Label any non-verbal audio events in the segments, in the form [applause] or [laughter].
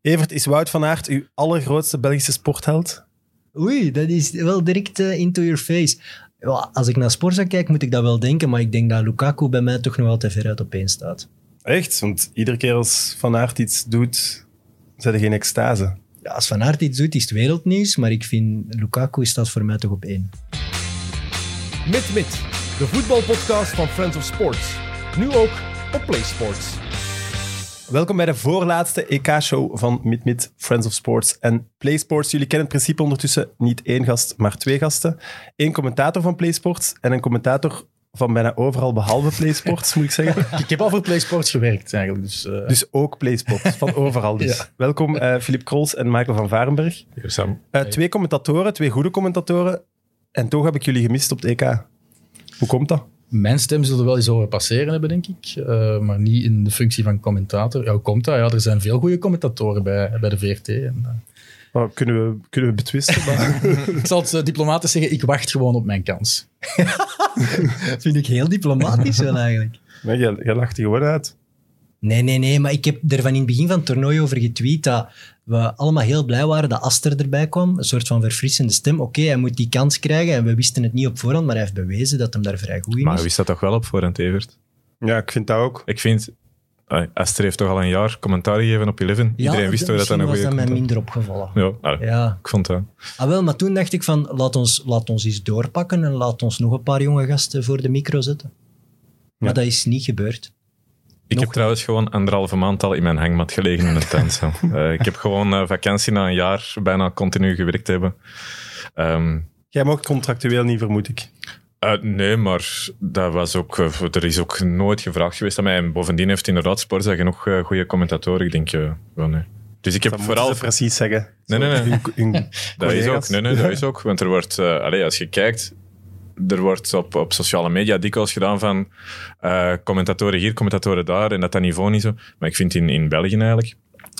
Evert, is Wout van Aert uw allergrootste Belgische sportheld? Oei, dat is wel direct eh, into your face. Wel, als ik naar Sporza kijk, moet ik dat wel denken, maar ik denk dat Lukaku bij mij toch nog wel te ver uit op één staat. Echt? Want iedere keer als Van Aert iets doet, zijn er geen extase. Ja, als Van Aert iets doet, is het wereldnieuws, maar ik vind Lukaku staat voor mij toch op één. Mit Mit, de voetbalpodcast van Friends of Sports. Nu ook op PlaySports. Welkom bij de voorlaatste EK-show van MidMid, Friends of Sports en PlaySports. Jullie kennen het principe ondertussen niet één gast, maar twee gasten. Eén commentator van PlaySports en een commentator van bijna overal behalve PlaySports, moet ik zeggen. [laughs] Ik heb al voor PlaySports gewerkt eigenlijk. Dus, eh, Dus ook PlaySports, [laughs] van overal dus. Ja. Welkom eh Filip Krols en Michael van Varenberg. Eh, Twee commentatoren, twee goede commentatoren. En toch heb ik jullie gemist op het EK. Hoe komt dat? Mijn stem zullen wel eens horen passeren hebben, denk ik. eh, maar niet in de functie van commentator. Ja, hoe komt dat? Ja, er zijn veel goede commentatoren bij, bij de VRT. En, eh, Nou, kunnen, we, kunnen we betwisten? Maar... [laughs] ik zal het eh, diplomatisch zeggen, ik wacht gewoon op mijn kans. Dat vind ik heel diplomatisch wel eigenlijk. maar jij, jij lacht er gewoon uit. Nee, nee, nee, maar ik heb er van in het begin van het toernooi over getweet dat we allemaal heel blij waren dat Aster erbij kwam. Een soort van verfrissende stem. Oké, hij moet die kans krijgen en we wisten het niet op voorhand, maar hij heeft bewezen dat hem daar vrij goed in Maar is. wie staat toch wel op voorhand, Evert? Ja, ik vind dat ook. Ik vind... Ai, Aster heeft toch al een jaar commentaar gegeven op Eleven. Ja, Iedereen wist toch dat dat een goede Misschien was dat mij commentator minder opgevallen. Ja, ah, ja. ik vond dat. Ah, wel, maar toen dacht ik van, laat ons, laat ons eens doorpakken en laat ons nog een paar jonge gasten voor de micro zetten. Maar dat is niet gebeurd. Ik Nog- heb trouwens gewoon anderhalve maand al in mijn hangmat gelegen in het [laughs] tent. zo. Eh, ik heb gewoon eh, vakantie na een jaar bijna continu gewerkt te hebben. Ehm, Jij mag contractueel niet, vermoed ik. eh, nee, maar dat was ook, eh, er is ook nooit gevraagd geweest aan mij. En bovendien heeft inderdaad Sporza genoeg eh, goede commentatoren. Ik denk, eh, wel nee. Dus ik heb Dat vooral... moeten ze precies zeggen. Nee, nee, nee. Hun- [laughs] hun Dat is collega's. ook, nee, nee, dat is ook. Want er wordt, eh, allee, als je kijkt, er wordt op, op sociale media dikwijls gedaan van eh, commentatoren hier, commentatoren daar, en dat dat niveau niet zo. Maar ik vind in, in België eigenlijk,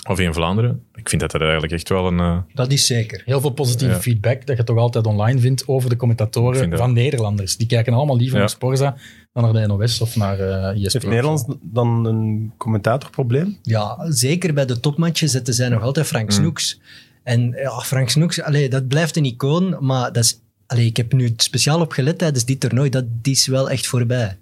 of in Vlaanderen, ik vind dat er eigenlijk echt wel een... eh, Dat is zeker. Heel veel positieve Ja. feedback dat je toch altijd online vindt over de Ik commentatoren vind dat- van Nederlanders. Die kijken allemaal liever Ja. naar Sporza dan naar de NOS of naar eh ESPN. Heeft Nederlands dan een commentatorprobleem? Ja, zeker bij de topmatchen zetten zij nog altijd Frank Snoeks. En ja, Frank Snoeks, allee, dat blijft een icoon, maar dat is, allee, ik heb nu het speciaal op gelet tijdens dit toernooi, dat die is wel echt voorbij.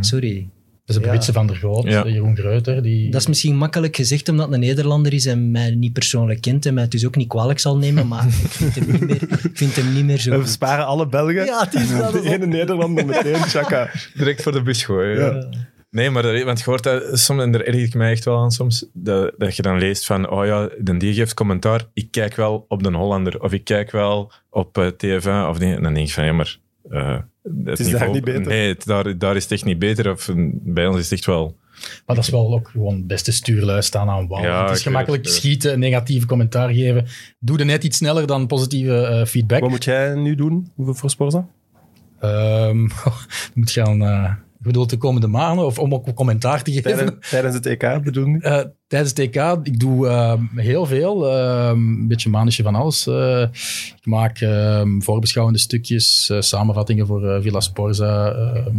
Sorry. Dat is de Ja. Britse Van der Groot, Ja. eh, Jeroen Greuter. Die... Dat is misschien makkelijk gezegd omdat het een Nederlander is en mij niet persoonlijk kent en mij het dus ook niet kwalijk zal nemen, maar ik vind hem niet meer, ik vind hem niet meer zo We goed. sparen alle Belgen. [laughs] Ja, het is [laughs] [laughs] wel de zo. ene Nederlander meteen, Chaka. direct voor de bus gooien. ja. Nee, maar dat- want je hoort dat soms, en daar erger ik mij echt wel aan soms, dat, dat je dan leest van, oh ja, de die geeft commentaar, ik kijk wel op de Hollander, of ik kijk wel op eh, TF1, of die, en dan denk ik van, ja, maar... eh, het is daar niet beter. Nee, het- daar, daar is het echt niet beter, of mm, bij ons is het echt wel... Maar dat is wel ook gewoon het beste stuurlui staan aan wal. Ja, het ik is weet gemakkelijk het, ik weet schieten, negatieve commentaar geven. Doe er net iets sneller dan positieve eh, feedback. Wat moet jij nu doen voor- voor Sporza? Ehm, [laughs] dan moet je aan, eh, ik bedoel, de komende maanden of om ook commentaar te [laughs] geven. Tijdens, tijdens het EK bedoel ik. Eh, tijdens het TK, ik doe ehm, heel veel. ehm, een beetje manisje van alles. Eh, ik maak ehm, voorbeschouwende stukjes, eh, samenvattingen voor eh, Villa Sporza. ehm,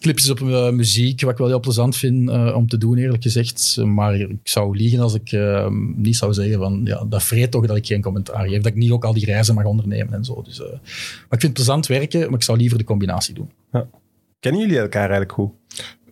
clipjes op eh, muziek, wat ik wel heel plezant vind eh, om te doen, eerlijk gezegd. Maar ik zou liegen als ik ehm, niet zou zeggen van, ja, dat vreet toch dat ik geen commentaar geef. Dat ik niet ook al die reizen mag ondernemen en zo. Dus, eh, maar ik vind het plezant werken, maar ik zou liever de combinatie doen. Kennen jullie elkaar eigenlijk goed?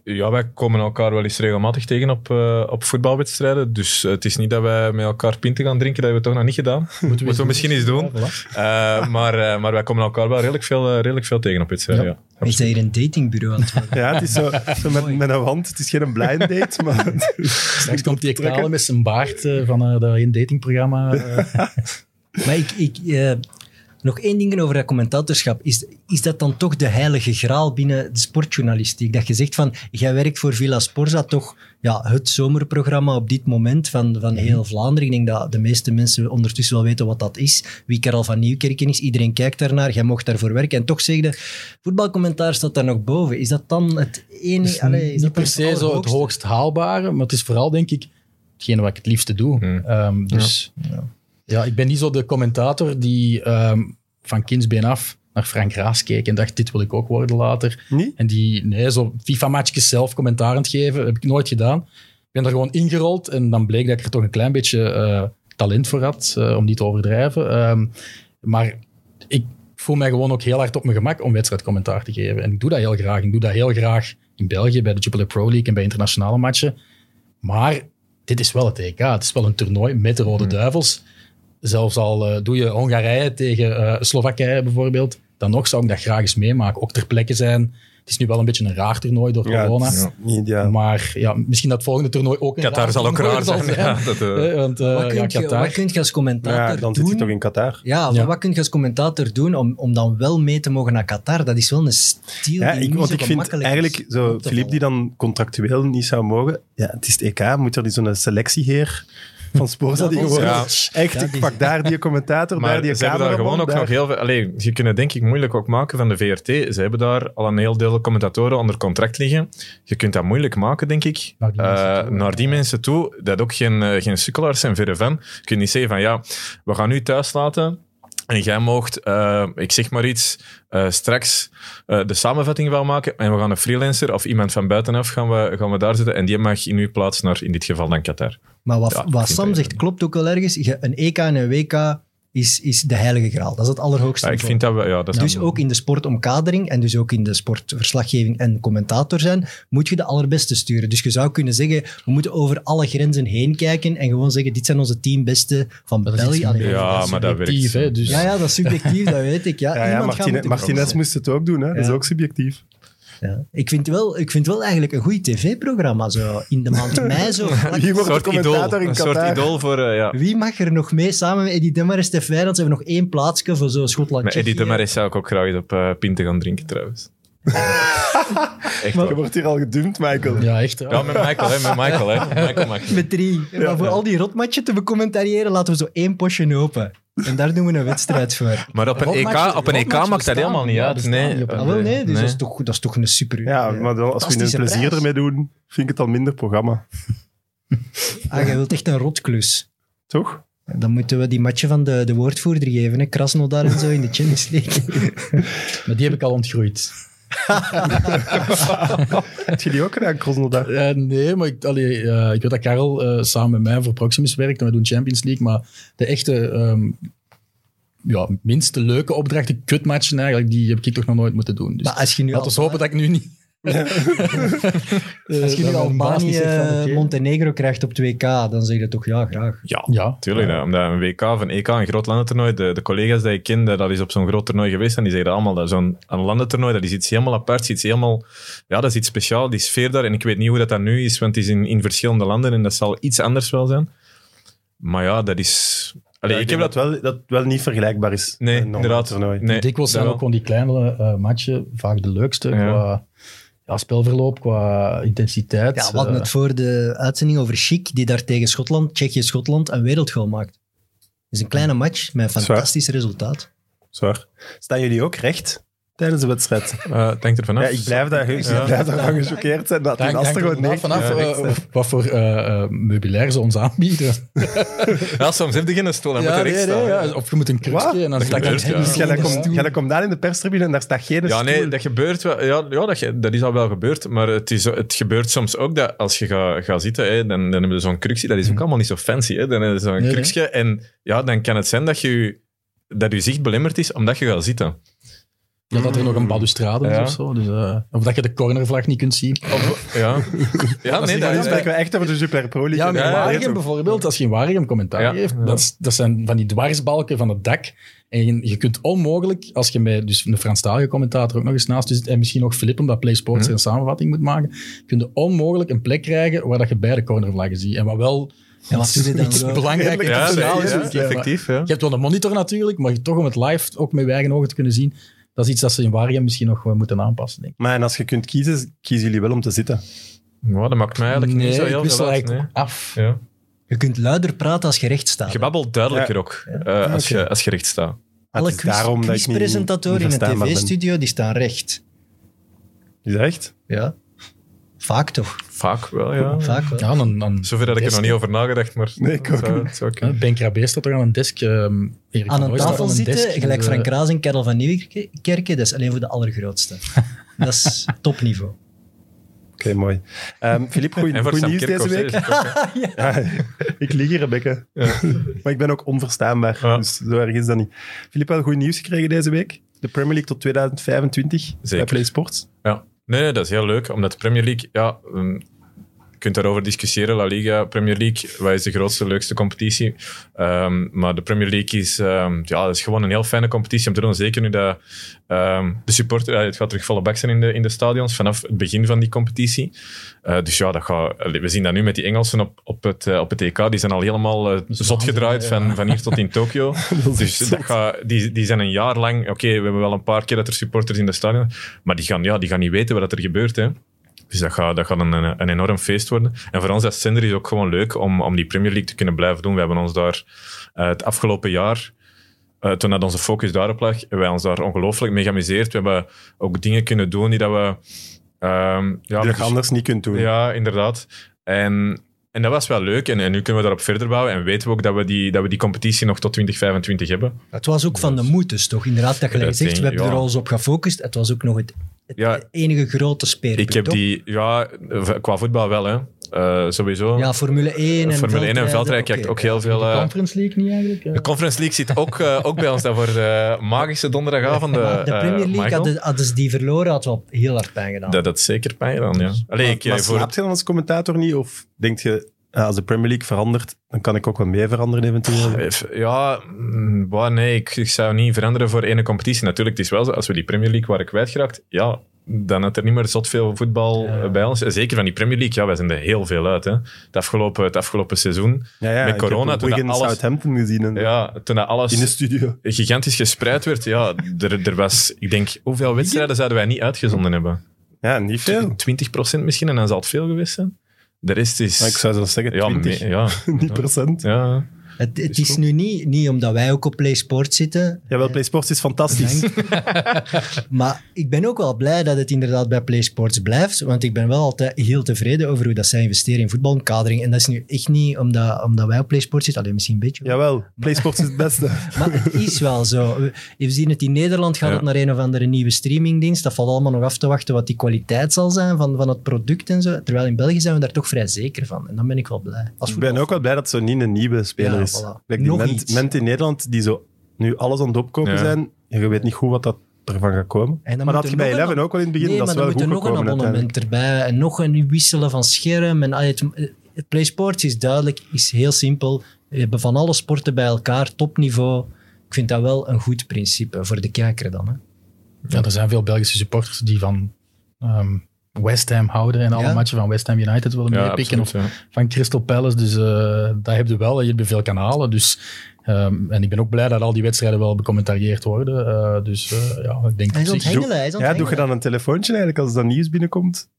Ja, wij komen elkaar wel eens regelmatig tegen op, eh, op voetbalwedstrijden, dus eh, het is niet dat wij met elkaar pinten gaan drinken, dat hebben we toch nog niet gedaan. Moeten we, misschien eens doen. Ja, voilà. Eh, maar, eh, maar wij komen elkaar wel redelijk veel, eh, redelijk veel tegen op wedstrijden, ja. Is dat hier een datingbureau aan het [laughs] worden? Ja, het is zo, zo met, met een wand. Het is geen blind [laughs] date, maar... Straks komt die Trekken. kralen met zijn baard eh, van eh dat een datingprogramma. eh. Maar ik, ik, eh, nog één ding over dat commentatorschap. Is, is dat dan toch de heilige graal binnen de sportjournalistiek? Dat je zegt van, jij werkt voor Villa Sporza, toch ja, het zomerprogramma op dit moment van, Mhm. van heel Vlaanderen. Ik denk dat de meeste mensen ondertussen wel weten wat dat is. Wie Karel van Nieuwkerken is, iedereen kijkt daarnaar. Jij mocht daarvoor werken. En toch zeg je, voetbalcommentaar staat daar nog boven. Is dat dan het enige... is allee, is niet dat per dan se zo het allerhoogste? hoogst haalbare, maar het is vooral, denk ik, hetgene wat ik het liefste doe. Hmm. Ehm, dus ja. ik ben niet zo de commentator die ehm, van kindsbeen af naar Frank Raas keek en dacht, dit wil ik ook worden later. Niet? En die, nee, zo FIFA-matchjes zelf commentaar aan het geven, heb ik nooit gedaan. ben er gewoon ingerold en dan bleek dat ik er toch een klein beetje eh, talent voor had, eh, om niet te overdrijven. Ehm, maar ik voel mij gewoon ook heel hard op mijn gemak om wedstrijdcommentaar te geven. En ik doe dat heel graag. Ik doe dat heel graag in België, bij de Jupiler Pro League en bij internationale matchen. Maar dit is wel het EK. Het is wel een toernooi met de Rode Hmm. Duivels. Zelfs al eh, doe je Hongarije tegen eh, Slowakije bijvoorbeeld, dan nog zou ik dat graag eens meemaken. Ook ter plekke zijn. Het is nu wel een beetje een raar toernooi door Ja, corona. het is niet ideaal. Maar ja, misschien dat volgende toernooi ook een Qatar zal ook toernooi raar zijn. zal Ja, dat, eh, Eh, Want eh, Wat ja, kun, je, Qatar. wat kun je als commentator Ja, dan doen? zit hij toch in Qatar. Ja, maar Ja. wat kun je als commentator doen om, om dan wel mee te mogen naar Qatar? Dat is wel een stil Ja, die ik, niet want zo ik vind gemakkelijk is eigenlijk, zo, op te Filip die dan contractueel niet zou mogen, ja, het is het EK, moet er die zo'n selectieheer van Sporza [laughs] Ja, die gewoon... ja. Echt, Ja, ik die- pak daar die commentator, daar Maar die ze hebben daar gewoon ook cameraman, nog heel veel... Allee, je kunt het denk ik moeilijk ook maken van de VRT. Ze hebben daar al een heel deel commentatoren onder contract liggen. Je kunt dat moeilijk maken, denk ik. Naar die Eh, mensen toe. naar die mensen toe. Dat ook geen, eh, geen sukkelaars zijn, verre van. Je kunt niet zeggen van, ja, we gaan u thuis laten... En jij moogt, eh, ik zeg maar iets, eh, straks eh, de samenvatting wel maken. En we gaan een freelancer of iemand van buitenaf gaan we, gaan we daar zitten. En die mag in uw plaats naar, in dit geval dan Qatar. Maar wat, Ja, ik wat vind Sam dat zegt klopt ook wel ergens. Je- Een EK en een WK is, is de heilige graal. Dat is het allerhoogste. Ja, ik niveau. vind dat we... Ja, dat is Dus ook in de sportomkadering en dus ook in de sportverslaggeving en commentator zijn, moet je de allerbeste sturen. Dus je zou kunnen zeggen, we moeten over alle grenzen heen kijken en gewoon zeggen, dit zijn onze tien beste van Dat is iets België. van Allee, België. Ja, maar dat Subjectief, werkt. hè, dus- Ja, ja, dat is [laughs] subjectief, dat weet ik. Ja, daar. Ja, ja Iemand gaat Martine- moeten Martinez beslissen. moest het ook doen, hè. dat is Ja. ook subjectief. Ja. Ik, vind wel, ik vind wel eigenlijk een goed tv-programma, zo in de maand mei. [laughs] Zo, vlak- Wie wordt de soort idool. commentator in Een soort Qatar? idool voor... eh, ja. Wie mag er nog mee? Samen met Eddie Demaris en Feyenoord ze hebben nog één plaatsje voor zo'n Schotland. Met Eddie Tsjechië. de Marais zou ik ook graag eens op eh pinten gaan drinken, trouwens. Echt Je waar. wordt hier al gedumpt, Michael. Ja, echt. hè. Ja, met Michael, hè. Met Michael, hè. [laughs] Michael maakt Met drie. maar voor al die rotmatchen te becommentariëren, laten we zo één postje open. En daar doen we een wedstrijd voor. Maar op een EK, op een EK maakt dat helemaal niet uit. Nee. Ah, wel, nee, dus Dat, is toch, dat is toch een super... Ja, eh, maar dan, als we nu een fantastische plezier prijs. ermee doen, vind ik het al minder programma. Ah, jij wilt echt een rotklus. Toch? Dan moeten we die matchen van de, de woordvoerder geven, hè. Krasnodar en zo in de Champions League. Maar die heb ik al ontgroeid. Heb jullie ook gedaan, [laughs] Krosnodar? Eh, nee, maar ik, allee, eh, ik weet dat Karel eh, samen met mij voor Proximus werkt en we doen Champions League. Maar de echte ehm, ja, minste leuke opdrachten, kutmatchen eigenlijk, die heb ik toch nog nooit moeten doen. Dus Maar als je nu laten we hopen dat ik nu niet... Eh, Als je dat nu mijn baas niet Albanië, zegt van, oké. Montenegro krijgt op 2K, dan zeg je toch ja, graag. Ja, Ja, tuurlijk. hè. Omdat een WK of een EK, een groot landentoernooi, de, de collega's die ik kende, dat is op zo'n groot toernooi geweest en die zeggen allemaal dat zo'n een landentoernooi, dat is iets helemaal apart, iets helemaal... Ja, dat is iets speciaal, die sfeer daar. En ik weet niet hoe dat, dat nu is, want het is in, in verschillende landen en dat zal iets anders wel zijn. Maar ja, dat is... Allee, Ja, ik heb dat wel, dat wel niet vergelijkbaar is. Nee, met Eh, een normaal inderdaad. toernooi. Nee, Dikwijls dat zijn ook wel. gewoon die kleinere eh, matchen vaak de leukste Ja. qua ja, spelverloop, qua intensiteit. Ja, we hadden eh, het voor de uitzending over Chic, die daar tegen Schotland, Tsjechië-Schotland, een wereldgoal maakt. Het is een kleine match met een is waar. fantastisch resultaat. Zwaar. Staan jullie ook recht tijdens de [laughs] wedstrijd? Eh, het hangt er vanaf. Ja, ik blijf, daar, [laughs] ik Ja. blijf daarvan gechoqueerd zijn. Dat Dank, die dank gasten gewoon er nee. vanaf Ja, eh, wat voor eh, eh, meubilair ze ons aanbieden. Ja, soms heb je geen stoel, dan moet er nee, echt nee, staan. ja. Of je moet een Wat? krukje en dan Dat staat gebeurt, ja. Dus jij ja. dat komt- jij dat komt daar in de perstribune en daar staat geen Ja, stoel. nee, dat gebeurt wel. Ja, ja dat, ge- dat is al wel gebeurd. Maar het, is, het gebeurt soms ook dat als je gaat gaat zitten, hè, dan, dan hebben we zo'n cruxie. Dat is ook allemaal niet zo fancy. Hè. Dan is zo'n Mm. nee. cruxje. En ja, dan kan het zijn dat je, dat je zicht belemmerd is omdat je gaat zitten. Ja, dat er nog een balustrade is Hmm. Ja. of zo. Dus, eh, of dat je de cornervlag niet kunt zien. [laughs] Of- ja. ja, nee, Dus Dan dat is... spreken we echt over de Jupiler Pro League. Ja, maar in ja, Waregem ja, toch. bijvoorbeeld, als je in Waregem commentaar Ja, geeft, ja. Dat, is- dat zijn van die dwarsbalken van het dak. En je, je kunt onmogelijk, als je met dus een Franstalige commentator ook nog eens naast je zit, en misschien nog Filip, omdat Play Sports Hm. een samenvatting moet maken, kun je onmogelijk een plek krijgen waar dat je beide cornervlaggen ziet. En wat wel En wat doe je dan [laughs] iets zo? belangrijk Redelijk Ja, en cruciaal dat is. is natuurlijk, hè, maar- effectief. Ja. Je hebt wel een monitor natuurlijk, maar toch om het live ook met je eigen ogen te kunnen zien, dat is iets dat ze in Waregem misschien nog eh, moeten aanpassen, denk ik. Maar en als je kunt kiezen, kiezen jullie wel om te zitten. Ja, Nou, dat maakt mij eigenlijk niet zo ik heel wissel veel uit. eigenlijk Nee. af. Ja. Je kunt luider praten als je recht staat. Je babbelt duidelijker Ja. ook eh, als, je, als je recht staat. Maar Alle het is daarom dat ik niet- presentatoren niet in een verstaanbaar ben. tv-studio, die staan recht. Is dat echt? Ja. Vaak toch? Vaak wel, ja. Vaak wel. Ja, dan, dan Zover dat ik er nog niet over nagedacht, maar... Nee, ik ook het zou- het zou kunnen. Ja, Ben Krabbe staat toch aan een desk. ehm, Erik van Aan een Hooy staat tafel aan een zitten, desk. gelijk Dus, eh, Frank Raas en Karel [laughs] van Nieuwkerken, dat is alleen voor de allergrootste. dat is topniveau. Oké. mooi. Ehm Filip, goed, [laughs] En voor goed Sam nieuws deze Kerkhoff hè, week. is het ook, hè. Ja, Ah, ik lieg hier, Rebecca. maar ik ben ook onverstaanbaar, Ja. dus zo erg is dat niet. Filip, wel goed nieuws gekregen deze week. De Premier League tot 2025 bij Zeker. Play Sports. Ja, nee, nee, dat is heel leuk, omdat de Premier League, ja, ehm, je kunt daarover discussiëren. La Liga, Premier League, wat is de grootste, leukste competitie? Ehm, maar de Premier League is, ehm, ja, dat is gewoon een heel fijne competitie om te doen. Zeker nu dat ehm, de supporter, eh, het gaat terug volle bak zijn in de, in de stadions vanaf het begin van die competitie. Eh, dus ja, dat gaat, allee, we zien dat nu met die Engelsen op, op, het, eh, op het EK. Die zijn al helemaal eh, zot gedraaid van, van hier tot in Tokio. dus zot. dat gaat, die, die zijn een jaar lang... Oké, we hebben wel een paar keer dat er supporters in de stadion... Maar die gaan, ja, die gaan niet weten wat er gebeurt, hè. Dus dat gaat, dat gaat een, een, een enorm feest worden. En voor ons als zender is het ook gewoon leuk om, om die Premier League te kunnen blijven doen. We hebben ons daar eh, het afgelopen jaar, eh, toen dat onze focus daarop lag, hebben wij ons daar ongelooflijk mee geamuseerd. We hebben ook dingen kunnen doen die dat we... ehm, ja, Die met je anders niet kunt doen. ja, inderdaad. En, en dat was wel leuk. En, en nu kunnen we daarop verder bouwen. En weten we ook dat we die, dat we die competitie nog tot 2025 hebben. Het was ook van de moeite, toch? Inderdaad, dat gelijk Dat zegt, denk we ik, hebben ja. er al eens op gefocust. Het was ook nog het, het Ja. enige grote speerpunt, Ik heb toch? die... Ja, eh, qua voetbal wel, hè. Eh, sowieso. Ja, Formule 1 en Formule 1 en veldrijden kijkt oké. ook heel veel... eh, Conference League niet eigenlijk? eh? de Conference League zit ook, eh, ook bij ons. Dat wordt eh, magische donderdagavond. eh, Maar de eh, Premier League, Michael. hadden, hadden ze die verloren, had wel heel hard pijn gedaan. dat, dat is zeker pijn dan, ja. Allee, ik, eh, maar voor, slaapt je dan als commentator niet? Of denk je, ah, als de Premier League verandert, dan kan ik ook wel mee veranderen eventueel? Eff- Ja, mm, bah, nee, ik, ik zou niet veranderen voor ene competitie. Natuurlijk, het is wel zo, als we die Premier League waren kwijtgeraakt, ja, dan had er niet meer zot veel voetbal eh, bij ons. Zeker van die Premier League, ja, wij zijn er heel veel uit. Hè. Het, afgelopen, het afgelopen seizoen, Ja, ja, met ik heb corona, ook toen dat Wigan alles- Southampton gezien en- ja, toen dat alles in de studio. gigantisch gespreid werd, ja, er, er was, ik denk, hoeveel wedstrijden zouden wij niet uitgezonden hebben? Ja, niet veel. 20% misschien, en dan zal het veel geweest zijn. De rest is... Maar ik zou zelfs zeggen, ja, 20. me- ja, [laughs] Niet procent. ja. het het is nu niet, niet omdat wij ook op PlaySport zitten, Jawel, Play Sports is fantastisch. Maar ik ben ook wel blij dat het inderdaad bij PlaySports blijft. Want ik ben wel altijd heel tevreden over hoe dat zij investeren in voetbalkadering. En dat is nu echt niet omdat, omdat wij op PlaySports zitten. Alleen misschien een beetje. Jawel, Play Sports is het beste. Maar het is wel zo. We- We zien het in Nederland, gaat Ja. het naar een of andere nieuwe streamingdienst. Dat valt allemaal nog af te wachten wat die kwaliteit zal zijn van, van het product en zo. Terwijl in België zijn we daar toch vrij zeker van. En dan ben ik wel blij. Als Ik ben voetbal- ook wel blij dat zo niet een nieuwe speler Ja, is. voilà. Like die Nog ment, iets. ment in Nederland die zo nu alles aan het opkopen Ja. zijn. en Je weet niet goed wat dat ervan gaat komen. En dan Maar dat moet had er je bij nog een Eleven ab- ook al in het begin. Nee, dat maar is dan wel moet goed er nog een gekomen uiteindelijk. abonnement erbij en nog een wisselen van scherm. En, ah, het, het PlaySports is duidelijk, is heel simpel. We hebben van alle sporten bij elkaar, topniveau. Ik vind dat wel een goed principe voor de kijker dan. Hè. Ja, er zijn veel Belgische supporters die van ehm, West Ham houden en alle Ja. matchen van West Ham United willen Ja, meepikken. absoluut, Of ja. van Crystal Palace, dus eh dat heb je wel. Je hebt veel kanalen, dus... ehm, en ik ben ook blij dat al die wedstrijden wel becommentarieerd worden. eh, dus eh, ja, ik denk Hij is op aan zich- het hengelen, hij is aan het Ja, doe je hengelen. dan een telefoontje eigenlijk als dat nieuws binnenkomt?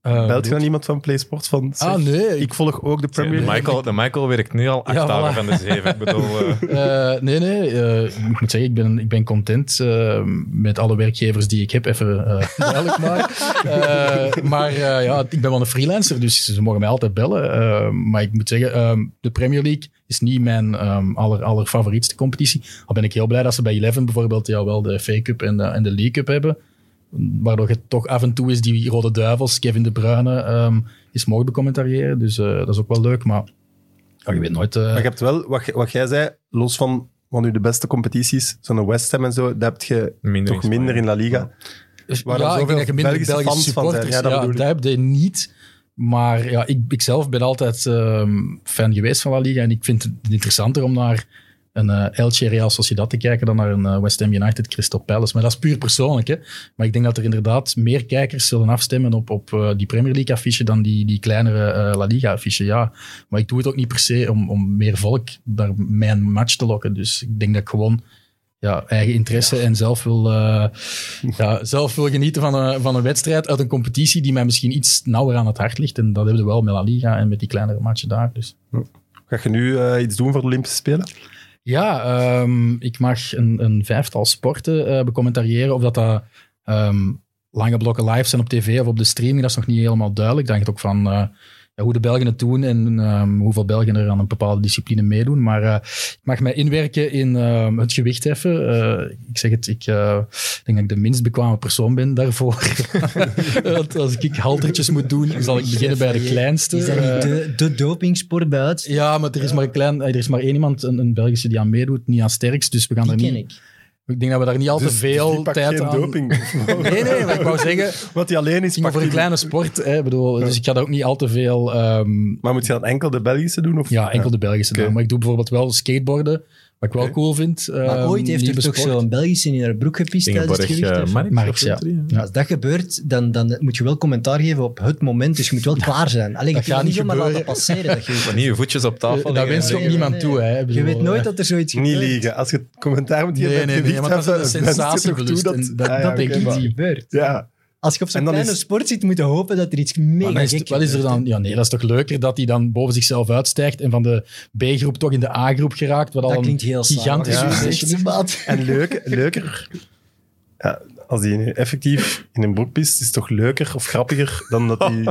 Ehm, Eh, Belt je dan iemand van Play Sports van... zeg, Ah, nee. Ik volg ook de Premier De League. Michael, de Michael werkt nu al acht Ja, dagen voilà. van de zeven. Ik [laughs] bedoel... eh, Eh, nee, nee. eh, ik moet zeggen, ik ben, ik ben content eh, met alle werkgevers die ik heb. Even eh duidelijk maken. Eh, maar eh, ja, ik ben wel een freelancer, dus ze mogen mij altijd bellen. Eh, maar ik moet zeggen, ehm, de Premier League is niet mijn ehm aller, allerfavorietste competitie. Al ben ik heel blij dat ze bij Eleven bijvoorbeeld ja, wel de FA Cup en de, en de League Cup hebben. Waardoor het toch af en toe is die Rode Duivels, Kevin De Bruyne, ehm, is mogen becommentariëren. Dus eh, dat is ook wel leuk, maar ja, je weet nooit... eh, Maar je hebt wel, wat, je- wat jij zei, los van wat nu de beste competities, zo'n West Ham en zo, dat heb je Minder in toch Spanje. minder in La Liga. Dus Waar dan ja, ik zoveel denk dat je minder Belgische Belgische, fans van supporters... zijn. Ja, dat ja, bedoel ik. dat heb je niet. Maar ja, ik, ik zelf ben altijd ehm, fan geweest van La Liga. En ik vind het interessanter om naar een eh Elche Real Sociedad te kijken dan naar een eh, West Ham United Crystal Palace. Maar dat is puur persoonlijk. Hè? Maar ik denk dat er inderdaad meer kijkers zullen afstemmen op, op eh, die Premier League affiche dan die, die kleinere eh, La Liga affiche. Ja. Maar ik doe het ook niet per se om, om meer volk naar mijn match te lokken. Dus ik denk dat ik gewoon ja, eigen interesse en zelf wil, eh, ja, zelf wil genieten van een, van een wedstrijd uit een competitie die mij misschien iets nauwer aan het hart ligt. En dat hebben we wel met La Liga en met die kleinere matchen daar. Dus. Ga je nu eh, iets doen voor de Olympische Spelen? Ja, ehm, ik mag een, een vijftal sporten eh becommentariëren. Of dat dat ehm, lange blokken live zijn op tv of op de streaming, dat is nog niet helemaal duidelijk. Dat hangt ook van eh, ja, hoe de Belgen het doen en ehm, hoeveel Belgen er aan een bepaalde discipline meedoen. Maar eh, ik mag mij inwerken in ehm, het gewicht heffen. Eh, ik zeg het, ik eh, denk dat ik de minst bekwame persoon ben daarvoor. [laughs] Want als ik haltertjes moet doen, zal ik beginnen bij de kleinste. Is dat niet Eh, de, de dopingsport bij uitstek? ja, maar er is maar, een klein, eh, er is maar één iemand, een, een Belgische, die aan meedoet, niet aan sterkst. Dus we gaan Die er ken niet. ik. Ik denk dat we daar niet al te Dus- dus die veel pakt tijd geen [laughs] aan. doping. Nee, nee, maar ik wou zeggen, [laughs] Wat hij alleen is, het ging pakt voor een hij- kleine sport. Hè, ik bedoel, Dus ik ga daar ook niet al te veel. ehm, Maar moet je dan enkel de Belgische doen? Of? ja, enkel de Belgische Oké. naam. Maar ik doe bijvoorbeeld wel skateboarden, wat ik wel Oké. cool vind. Maar Ehm, ooit heeft er nieuwe toch sport. zo'n Belgische in haar broek gepist tijdens het Ingeborg gewicht. eh, heffen? Marx. Marx, of ja. zo, drie, Ja. Als dat gebeurt, dan, dan moet je wel commentaar geven op het moment. Dus je moet wel klaar zijn. Alleen je Dat kunt dat niet gaat niet zomaar laten gebeuren. passeren. Dat je, [laughs] Maar niet je voetjes op Eh, tafel. Dat leggen. wens je ook nee, niemand nee, toe. Hè. Ik je bedoel, weet nooit dat er zoiets Niet gebeurt. liegen. Als je het commentaar moet geven Nee, bij nee, het nee, want dat is een gewicht, dan wens je toch toe sensatieverlust. dat... en Dat, Ah, ja, dat denk oké, ik maar- niet. Ja, Als je op zo'n En dan kleine is- sport zit, moet je hopen dat er iets mega Maar dan is gek het- wat is er gebeurt, dan? Ja, nee, dat is toch leuker dat hij dan boven zichzelf uitstijgt en van de B-groep toch in de A-groep geraakt. Wat hè. al Dat een klinkt heel saai. gigantisch Ja. Dat succes is is. echt een [laughs] maat. En leuk, leuker. Ja, als die nu effectief in een broek pist, is het toch leuker of grappiger dan dat [laughs] die...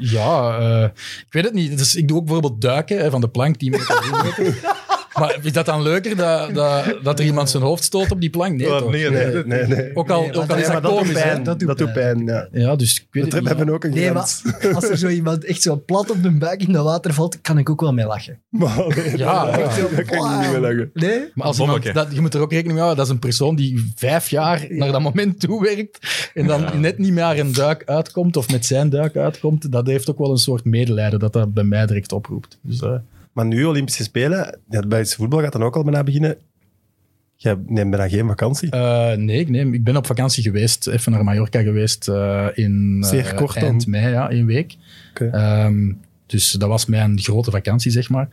Ja, eh, ik weet het niet. Dus ik doe ook bijvoorbeeld duiken hè, van de plank. Die meter drie meter. maar is dat dan leuker dat, dat, dat er iemand zijn hoofd stoot op die plank? Nee, toch? nee, nee, nee. nee. Ook al, Nee, ook al maar is Ja, maar dat dat doet komisch. hè. pijn. Dat doet pijn, ja. Ja, dus ik weet We het niet. hebben ook een Nee, grens. maar [laughs] als er zo iemand echt zo plat op de buik in dat water valt, kan ik ook wel mee [laughs] lachen. Maar, Oh, nee, [laughs] Ja, dat- ja. dat kan je niet meer lachen. Nee? Maar als iemand, Bommeke. dat, je moet er ook rekening mee houden, dat is een persoon die vijf jaar naar dat moment toe werkt en dan net niet meer een duik uitkomt of met zijn duik uitkomt. Dat heeft ook wel een soort medelijden dat dat bij mij direct oproept. Dus, eh, Maar nu, Olympische Spelen, ja, het Belgische voetbal gaat dan ook al bijna beginnen. Jij neemt bijna geen vakantie. eh, nee, ik neem- ik ben op vakantie geweest, even naar Mallorca geweest eh, in eh, Zeer kort dan. eind mei, ja, één week. Oké. Ehm, dus dat was mijn grote vakantie, zeg maar.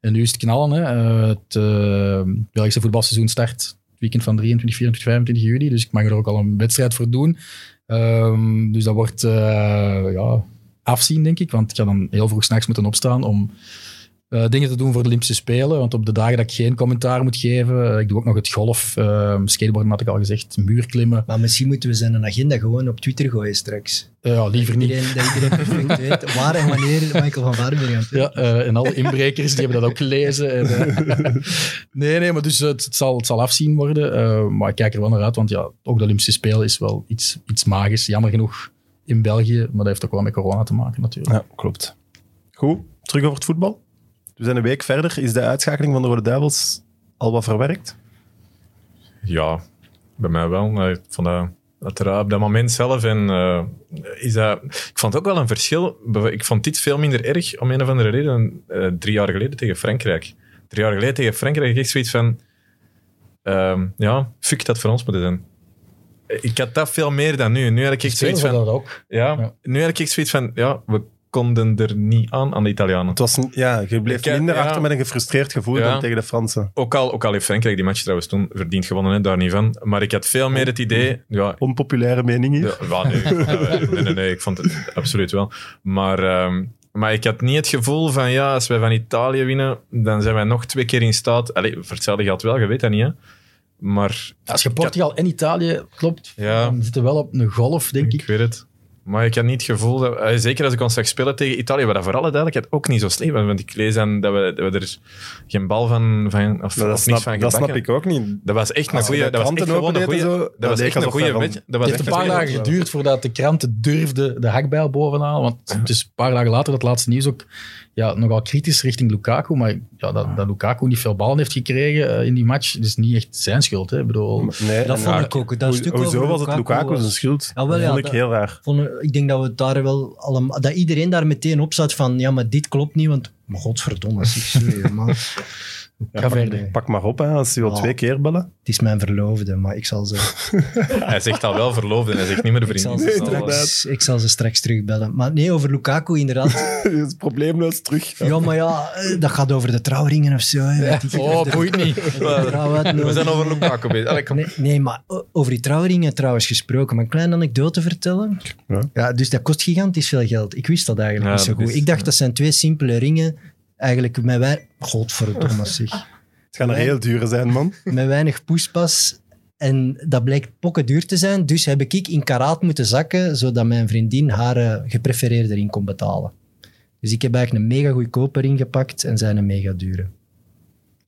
En nu is het knallen. Hè. Eh, het eh, Belgische voetbalseizoen start het weekend van 23, 24, 25 juli. Dus ik mag er ook al een wedstrijd voor doen. Ehm, dus dat wordt eh, ja, afzien, denk ik. Want ik ga dan heel vroeg s'nachts moeten opstaan om eh, dingen te doen voor de Olympische Spelen. Want op de dagen dat ik geen commentaar moet geven, eh, ik doe ook nog het golf, ehm, skateboarden had ik al gezegd, muurklimmen. Maar misschien moeten we zijn agenda gewoon op Twitter gooien straks. Eh, ja, liever niet. Iedereen, dat iedereen [laughs] perfect weet waar en wanneer Michael van Vaardenberg aan het Ja, eh, en alle inbrekers die hebben dat ook gelezen. En, eh, [laughs] nee, nee, maar dus het, het zal, het zal afzien worden. eh, maar ik kijk er wel naar uit, want ja, ook de Olympische Spelen is wel iets, iets magisch. Jammer genoeg in België, maar dat heeft ook wel met corona te maken natuurlijk. Ja, klopt. Goed, terug over het voetbal. We zijn een week verder. Is de uitschakeling van de Rode Duivels al wat verwerkt? Ja, bij mij wel. Eh, Ik vond dat, dat er op dat moment zelf. En, eh, is dat, ik vond ook wel een verschil. Bijv- Ik vond dit veel minder erg, om een of andere reden, eh, drie jaar geleden tegen Frankrijk. Drie jaar geleden tegen Frankrijk had ik zoiets van... ehm, ja, fuck dat voor ons moeten zijn. Ik had dat veel meer dan nu. Nu had ik echt zoiets van... Spelen we dat ook. Ja, Ja. nu had ik echt zoiets van... Ja, we konden er niet aan, aan de Italianen. Het was, een- ja, je bleef Ik heb- minder ja. achter met een gefrustreerd gevoel Ja. dan tegen de Fransen. Ook al, ook al heeft Frankrijk die match trouwens toen verdiend gewonnen, hè, daar niet van. Maar ik had veel meer het idee... Ja, Onpopulaire mening hier. Ja, [laughs] wel, nee, eh, nee, nee, nee, ik vond het absoluut wel. Maar, ehm, maar ik had niet het gevoel van, ja, als wij van Italië winnen, dan zijn wij nog twee keer in staat. Allee, voor hetzelfde geld wel, je weet dat niet, hè. Maar Als je Portugal en Italië klopt, Ja. dan zitten we wel op een golf, denk ik ik. weet het. Maar ik had niet het gevoel, dat, eh, zeker als ik ons zag spelen tegen Italië, waar dat voor alle duidelijkheid ook niet zo slecht was. Want ik lees aan dat we, dat we er geen bal van, van of, Maar of dat, niks snap, van dat snap gebakken. ik ook niet. Dat was echt een Als we goede. de Dat was echt kranten gewoon een opendeden goede. zo, Dat, dat was leek echt een alsof goede wij match. van- Dat was Het echt heeft een paar goeie- dagen geduurd voordat de kranten durfden de hakbijl bovenaan. Want het is een paar dagen later dat laatste nieuws ook ja, nogal kritisch richting Lukaku. Maar ja, dat, dat Lukaku niet veel ballen heeft gekregen eh, in die match, dat is niet echt zijn schuld. Hè. Ik bedoel, Nee, Dat en- vond ik ook. Dat Hoe- stuk hoezo over was het Lukaku was- zijn schuld? Ja, wel, dat ja, vond ik dat- heel raar. Vond- ik denk dat we het daar wel allemaal, dat iedereen daar meteen op zat van, ja, maar dit klopt niet, want maar godverdomme, zeg, sorry, [laughs] man. ga verder. Pak maar op, hè, als hij wil Ja. twee keer bellen. [laughs] Het is mijn verloofde, maar ik zal ze, [laughs] Hij zegt al wel verloofd en hij zegt niet meer ik zal vrienden. ze, Dus dat was- straks, ik zal ze straks terugbellen. Maar nee, over Lukaku [laughs] inderdaad. dat is probleemloos terug. Ja, maar ja, eh, dat gaat over de trouwringen of zo. hè, weet ik. Oh, De- boeit [laughs] niet. de trouw uitnodigen. We zijn over Lukaku bezig. Allee, kom. Nee, nee, maar o- over die trouwringen trouwens gesproken. Maar een kleine anekdote vertellen. Ja. Ja. dus dat kost gigantisch veel geld. Ik wist dat eigenlijk Ja, niet zo dat goed. is- ik dacht, dat zijn twee simpele ringen. Eigenlijk met wij... [laughs] Godverdomme zeg. Het gaan er heel dure zijn, man. Met weinig poespas. En dat blijkt pokken duur te zijn. Dus heb ik in karaat moeten zakken, zodat mijn vriendin haar eh, geprefereerde ring kon betalen. Dus ik heb eigenlijk een mega goedkoper ingepakt en zijn een mega dure.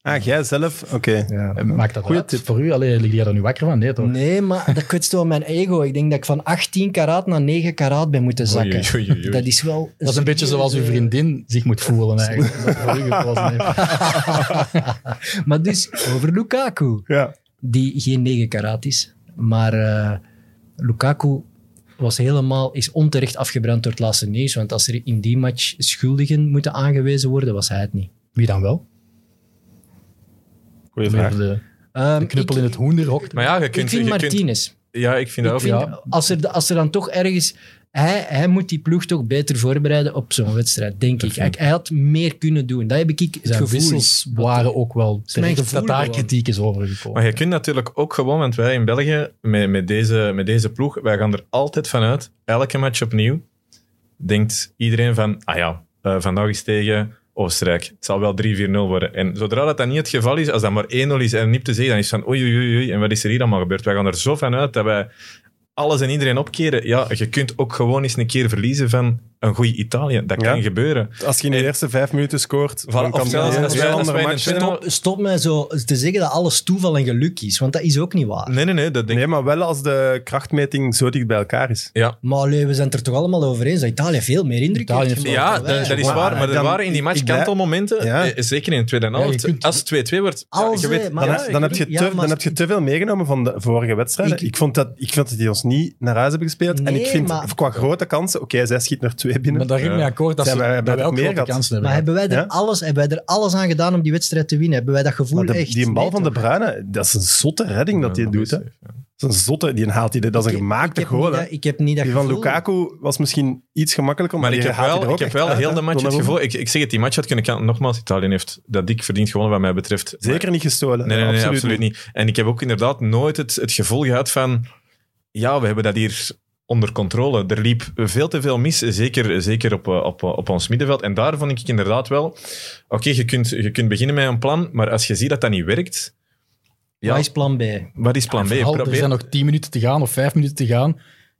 Ah, jij zelf? Oké. Ja. eh, Maakt dat Goeie uit voor u? Allee, lig jij daar nu wakker van? Nee, toch? Nee, maar dat kwetst wel mijn ego. Ik denk dat ik van 18 karaat naar 9 karaat ben moeten zakken. Oei, oei, oei, oei. Dat is wel... Dat is een beetje zoals uw [laughs] vriendin zich moet voelen eigenlijk. Dat voor u gekozen heeft. Maar dus, over Lukaku. Ja. die geen 9 karaat is. Maar eh, Lukaku was helemaal, is onterecht afgebrand door het laatste nieuws. Want als er in die match schuldigen moeten aangewezen worden, was hij het niet. Wie dan wel? Goeie Meer vraag. De, Ehm, de knuppel ik, in het hoenderhok. Maar ja, je ik kunt... vind je kunt- Martinez. ja, ik vind dat ook. Ik vind, ja. als, er, als er dan toch ergens... Hij, hij moet die ploeg toch beter voorbereiden op zo'n wedstrijd, denk ik. Hij, hij had meer kunnen doen. Dat heb ik het Zijn gevoel. wissels waren ook wel mijn terecht. gevoel Dat daar gewoon. kritiek is over gekomen. Maar je kunt natuurlijk ook gewoon, want wij in België, met, met, deze, met deze ploeg, wij gaan er altijd vanuit, elke match opnieuw, denkt iedereen van, ah ja, eh, vandaag is tegen Oostenrijk. Het zal wel 3-4-0 worden. En zodra dat, dat niet het geval is, als dat maar 1-0 is en niet te zeggen, dan is het van oei, oei, oei, oei, en wat is er hier allemaal gebeurd? Wij gaan er zo vanuit dat wij alles en iedereen opkeren. Ja, je kunt ook gewoon eens een keer verliezen van een goede Italië. Dat kan Ja. gebeuren. Als je in de En- eerste vijf minuten scoort, Voilà, dan of kan zelfs dat als wij- een als wij andere in match een zijn. penalty- Stop, stop mij zo te zeggen dat alles toeval en geluk is, want dat is ook niet waar. Nee, nee, nee, dat denk ik. Nee, maar wel als de krachtmeting zo dicht bij elkaar is. Ja, Maar allee, we zijn het er toch allemaal over eens dat Italië veel meer indruk Italië heeft heeft- gemaakt Ja, dan wij. dat, dat is Maar waar. Maar er dan- waren in die match ik blijf- kantelmomenten. Ja. eh, Zeker in het tweede Ja, je helft. kunt- Als het 2-2 wordt, ja, Als, je weet- eh, maar- Dan, Ja, heb- ik dan, heb, je bedoel- te, ja, maar dan heb s- je te veel meegenomen van de vorige wedstrijden. Ik- Ik, vond, dat, ik vind dat die ons niet naar huis hebben gespeeld. en ik Nee, vind maar- qua grote kansen, oké, zij schiet er twee binnen. Maar daar ging ik mee akkoord dat, Zijn ze, wij- dat hebben wij we ook meer grote gehad? kansen hebben. Maar hebben wij, er Ja? alles, hebben wij er alles aan gedaan om die wedstrijd te winnen? Hebben wij dat gevoel Maar de- echt? die bal Nee, van de toch? Bruyne, dat is een zotte redding dat hij Ja, doet. Hè. dat is- Dat is een zotte, die haalt hij, dat is een Ik- gemaakte ik heb niet goal. hè. dat- Ik heb niet dat Die van gevoel. Lukaku was misschien iets gemakkelijker, Maar die ik heb haalt hij er wel, ook ik heb echt wel uit, heel hè. de match het Donnarumma. gevoel... Ik, ik zeg het, die match had kunnen kanten. Nogmaals, Italië heeft dat dik verdiend gewonnen, wat mij betreft. Maar- Zeker niet gestolen. Nee, nee, nee, absoluut, niet. niet. En ik heb ook inderdaad nooit het, het gevoel gehad van... Ja, we hebben dat hier onder controle. Er liep veel te veel mis, zeker, zeker op, eh, op, eh, op ons middenveld. En daar vond ik inderdaad wel... Oké, je, kunt, je kunt beginnen met een plan, maar als je ziet dat dat niet werkt... Ja, Wat is plan B? wat is plan B? Vooral, er Probeer- zijn nog 10 minuten te gaan of 5 minuten te gaan.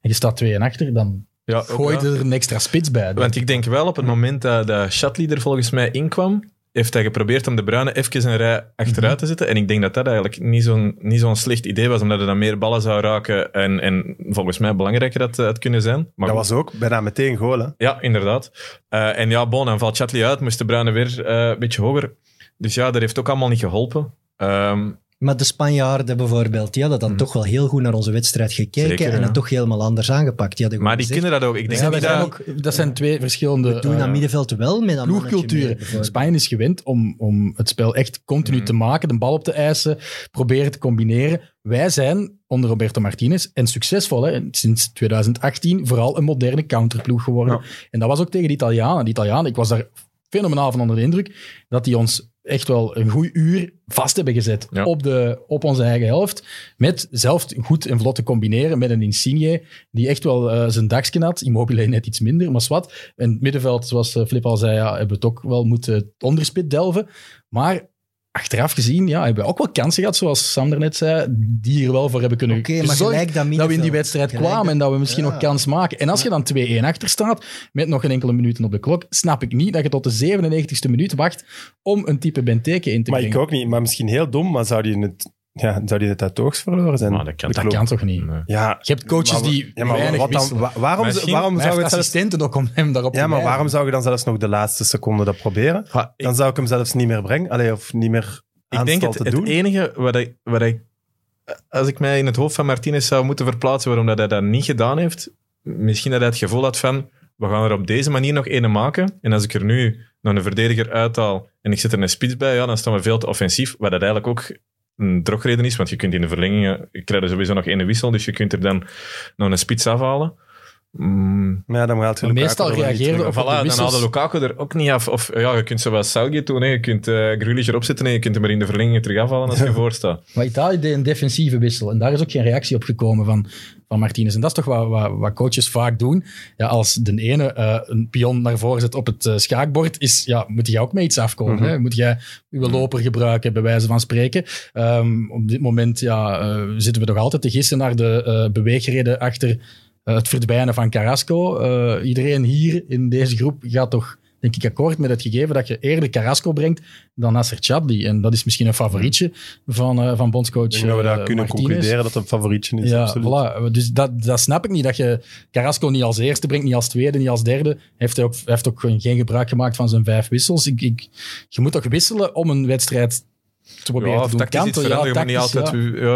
En je staat 2 en achter, dan Ja, ook gooi wel. je er een extra spits bij. Want ik denk wel, op het moment dat, dat Shatley er volgens mij inkwam, heeft hij geprobeerd om de Bruine even een rij achteruit Mhm. te zetten. En ik denk dat dat eigenlijk niet zo'n, niet zo'n slecht idee was, omdat hij dan meer ballen zou raken. En, en volgens mij belangrijker dat eh, het kunnen zijn. Maar Dat goed. was ook bijna meteen goal. Hè. Ja, inderdaad. Eh, en ja, bon, dan valt Shatley uit, moest de Bruine weer eh, een beetje hoger. Dus ja, dat heeft ook allemaal niet geholpen. Ehm, Maar de Spanjaarden bijvoorbeeld, die hadden dan toch wel heel goed naar onze wedstrijd gekeken Zeker, en het ja. toch helemaal anders aangepakt. Die hadden maar die gewoon gezegd, kinderen dat ook. Ik denk Ja, wij dat, zijn dat, ook, dat zijn twee verschillende we doen eh, dat middenveld wel met een mannetje meer, ploegculturen. bijvoorbeeld. Spanje is gewend om, om het spel echt continu Mhm. te maken, de bal op te eisen, proberen te combineren. Wij zijn onder Roberto Martinez en succesvol hè, sinds 2018 vooral een moderne counterploeg geworden. En dat was ook tegen de Italianen. De Italianen, ik was daar fenomenaal van onder de indruk dat die ons echt wel een goed uur vast hebben gezet Ja. op, de, op onze eigen helft. Met zelf goed en vlot te combineren met een Insigne die echt wel eh, zijn dagsken had. Immobile net iets minder, maar zwart. En het middenveld, zoals eh, Flip al zei, ja, hebben we het ook wel moeten het onderspit delven. Maar achteraf gezien ja, hebben we ook wel kansen gehad, zoals Sam daarnet zei, die er wel voor hebben kunnen Oké, maar zorgen gelijk dat dat we in die middenveld. wedstrijd Gelijk kwamen dat- en dat we misschien ja. nog kans maken. En als je dan 2-1 achter staat, met nog een enkele minuten op de klok, snap ik niet dat je tot de 97ste minuut wacht om een type Benteke in te Maar ik brengen. ook niet. Maar misschien heel dom, maar zou die het, ja, zou die het uit het oog verloren zijn? Maar dat kan Ik toch dat geloof- kan toch niet? Nee. Ja, Je hebt coaches maar wa- die ja, maar weinig wat dan, wisselen. wa- waarom, Misschien- waarom Hij zou heeft het zelfs, assistenten ook om hem daarop ja, te maar wijzen. waarom zou je dan zelfs nog de laatste seconde dat proberen? Ja, ik- Dan zou ik hem zelfs niet meer brengen. Allee, of niet meer Ik denk aanstal het, te het doen. enige wat ik, wat ik, als ik mij in het hoofd van Martinez zou moeten verplaatsen waarom dat hij dat niet gedaan heeft, misschien dat hij het gevoel had van, we gaan er op deze manier nog ene maken. En als ik er nu nog een verdediger uithaal en ik zet er een spits bij, ja, dan staan we veel te offensief. Wat dat eigenlijk ook een drogreden is, want je kunt in de verlengingen, je krijgt er sowieso nog ene wissel, dus je kunt er dan nog een spits afhalen. Mm, Maar ja, dan haalt je Maar Lukaku meestal er wel niet reageerde terug. op- voilà, dan wissels- haalde Lukaku er ook niet af. Of ja, je kunt zowel Selgi doen, hè, je kunt eh Grealish erop zetten en je kunt hem er in de verlengingen terug afhalen [laughs] als je voorstaat. Maar Italië deed een defensieve wissel. En daar is ook geen reactie op gekomen van, van Martinez. En dat is toch wat, wat, wat coaches vaak doen. Ja, als de ene eh, een pion naar voren zet op het eh, schaakbord, is, ja, moet jij ook mee iets afkomen. Mhm. hè? Moet jij uw loper gebruiken, bij wijze van spreken. Ehm, op dit moment ja, eh, zitten we nog altijd te gissen naar de eh beweegreden achter eh, het verdwijnen van Carrasco. Eh, iedereen hier in deze groep gaat toch denk ik akkoord met het gegeven dat je eerder Carrasco brengt dan Nasser Chadli. En dat is misschien een favorietje van, eh, van bondscoach Ik denk dat we daar eh, kunnen Martinez. concluderen dat het een favorietje is. Ja, absoluut. voilà. Dus dat, dat snap ik niet. Dat je Carrasco niet als eerste brengt, niet als tweede, niet als derde. Hij heeft ook, hij heeft ook geen gebruik gemaakt van zijn vijf wissels. Ik, ik, je moet toch wisselen om een wedstrijd te proberen Ja, te of doen. tactisch iets Kanten, ja, veranderen, maar niet tactisch, altijd... ja. wie-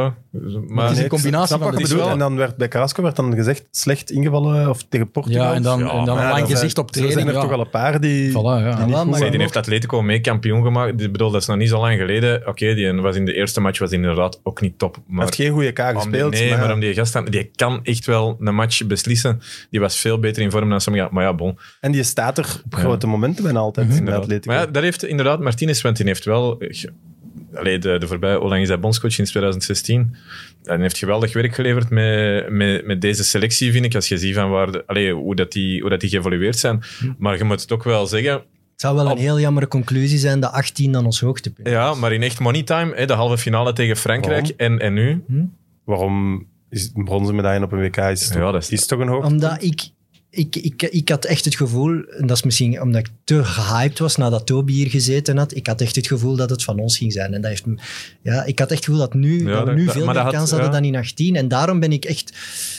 Ja. het Maar is een combinatie snap van wat de je twee. bedoelt. En dan werd bij Carrasco werd dan gezegd slecht ingevallen of tegen Portugal. Ja, en dan, Ja, en dan maar een Ja, lang dan zijn- gezicht op training. Zo zijn er ja. toch al een paar die... Voilà, ja. die niet Ja, goed maar- Zij, die zijn. heeft Atletico mee kampioen gemaakt. Ik bedoel, dat is nog niet zo lang geleden. Oké, die was in de eerste match was inderdaad ook niet top. Hij Maar heeft geen goede K Om die- gespeeld. nee, maar, maar om die gast aan- die kan echt wel een match beslissen. Die was veel beter in vorm dan sommige. Maar ja, bon. En die staat er op grote momenten bijna altijd in de Mhm. inderdaad. Atletico. Maar ja, daar heeft inderdaad Martinez, want die heeft wel... eh, ge- Allee, de, de voorbije, hoe lang is hij bondscoach sinds 2016? Ja, Die heeft geweldig werk geleverd met, met, met deze selectie, vind ik. Als je ziet van waar de- allee, hoe, dat die, hoe dat die geëvolueerd zijn. Hm. Maar je moet het ook wel zeggen, Het zou wel een Op- heel jammere conclusie zijn dat 18 dan ons hoogtepunt. ja, maar in echt money time, hè, de halve finale tegen Frankrijk en, en nu. Hm. Waarom is een bronzen medaille op een WK is toch, Ja, dat is is- toch een hoog... Omdat ik, ik, ik, ik had echt het gevoel, en dat is misschien omdat ik te gehyped was nadat Toby hier gezeten had, ik had echt het gevoel dat het van ons ging zijn. En dat heeft, me- ja, ik had echt het gevoel dat, nu, Ja, dat we dat- nu dat- veel maar meer dat had- kans hadden ja. dan in 18. En daarom ben ik echt...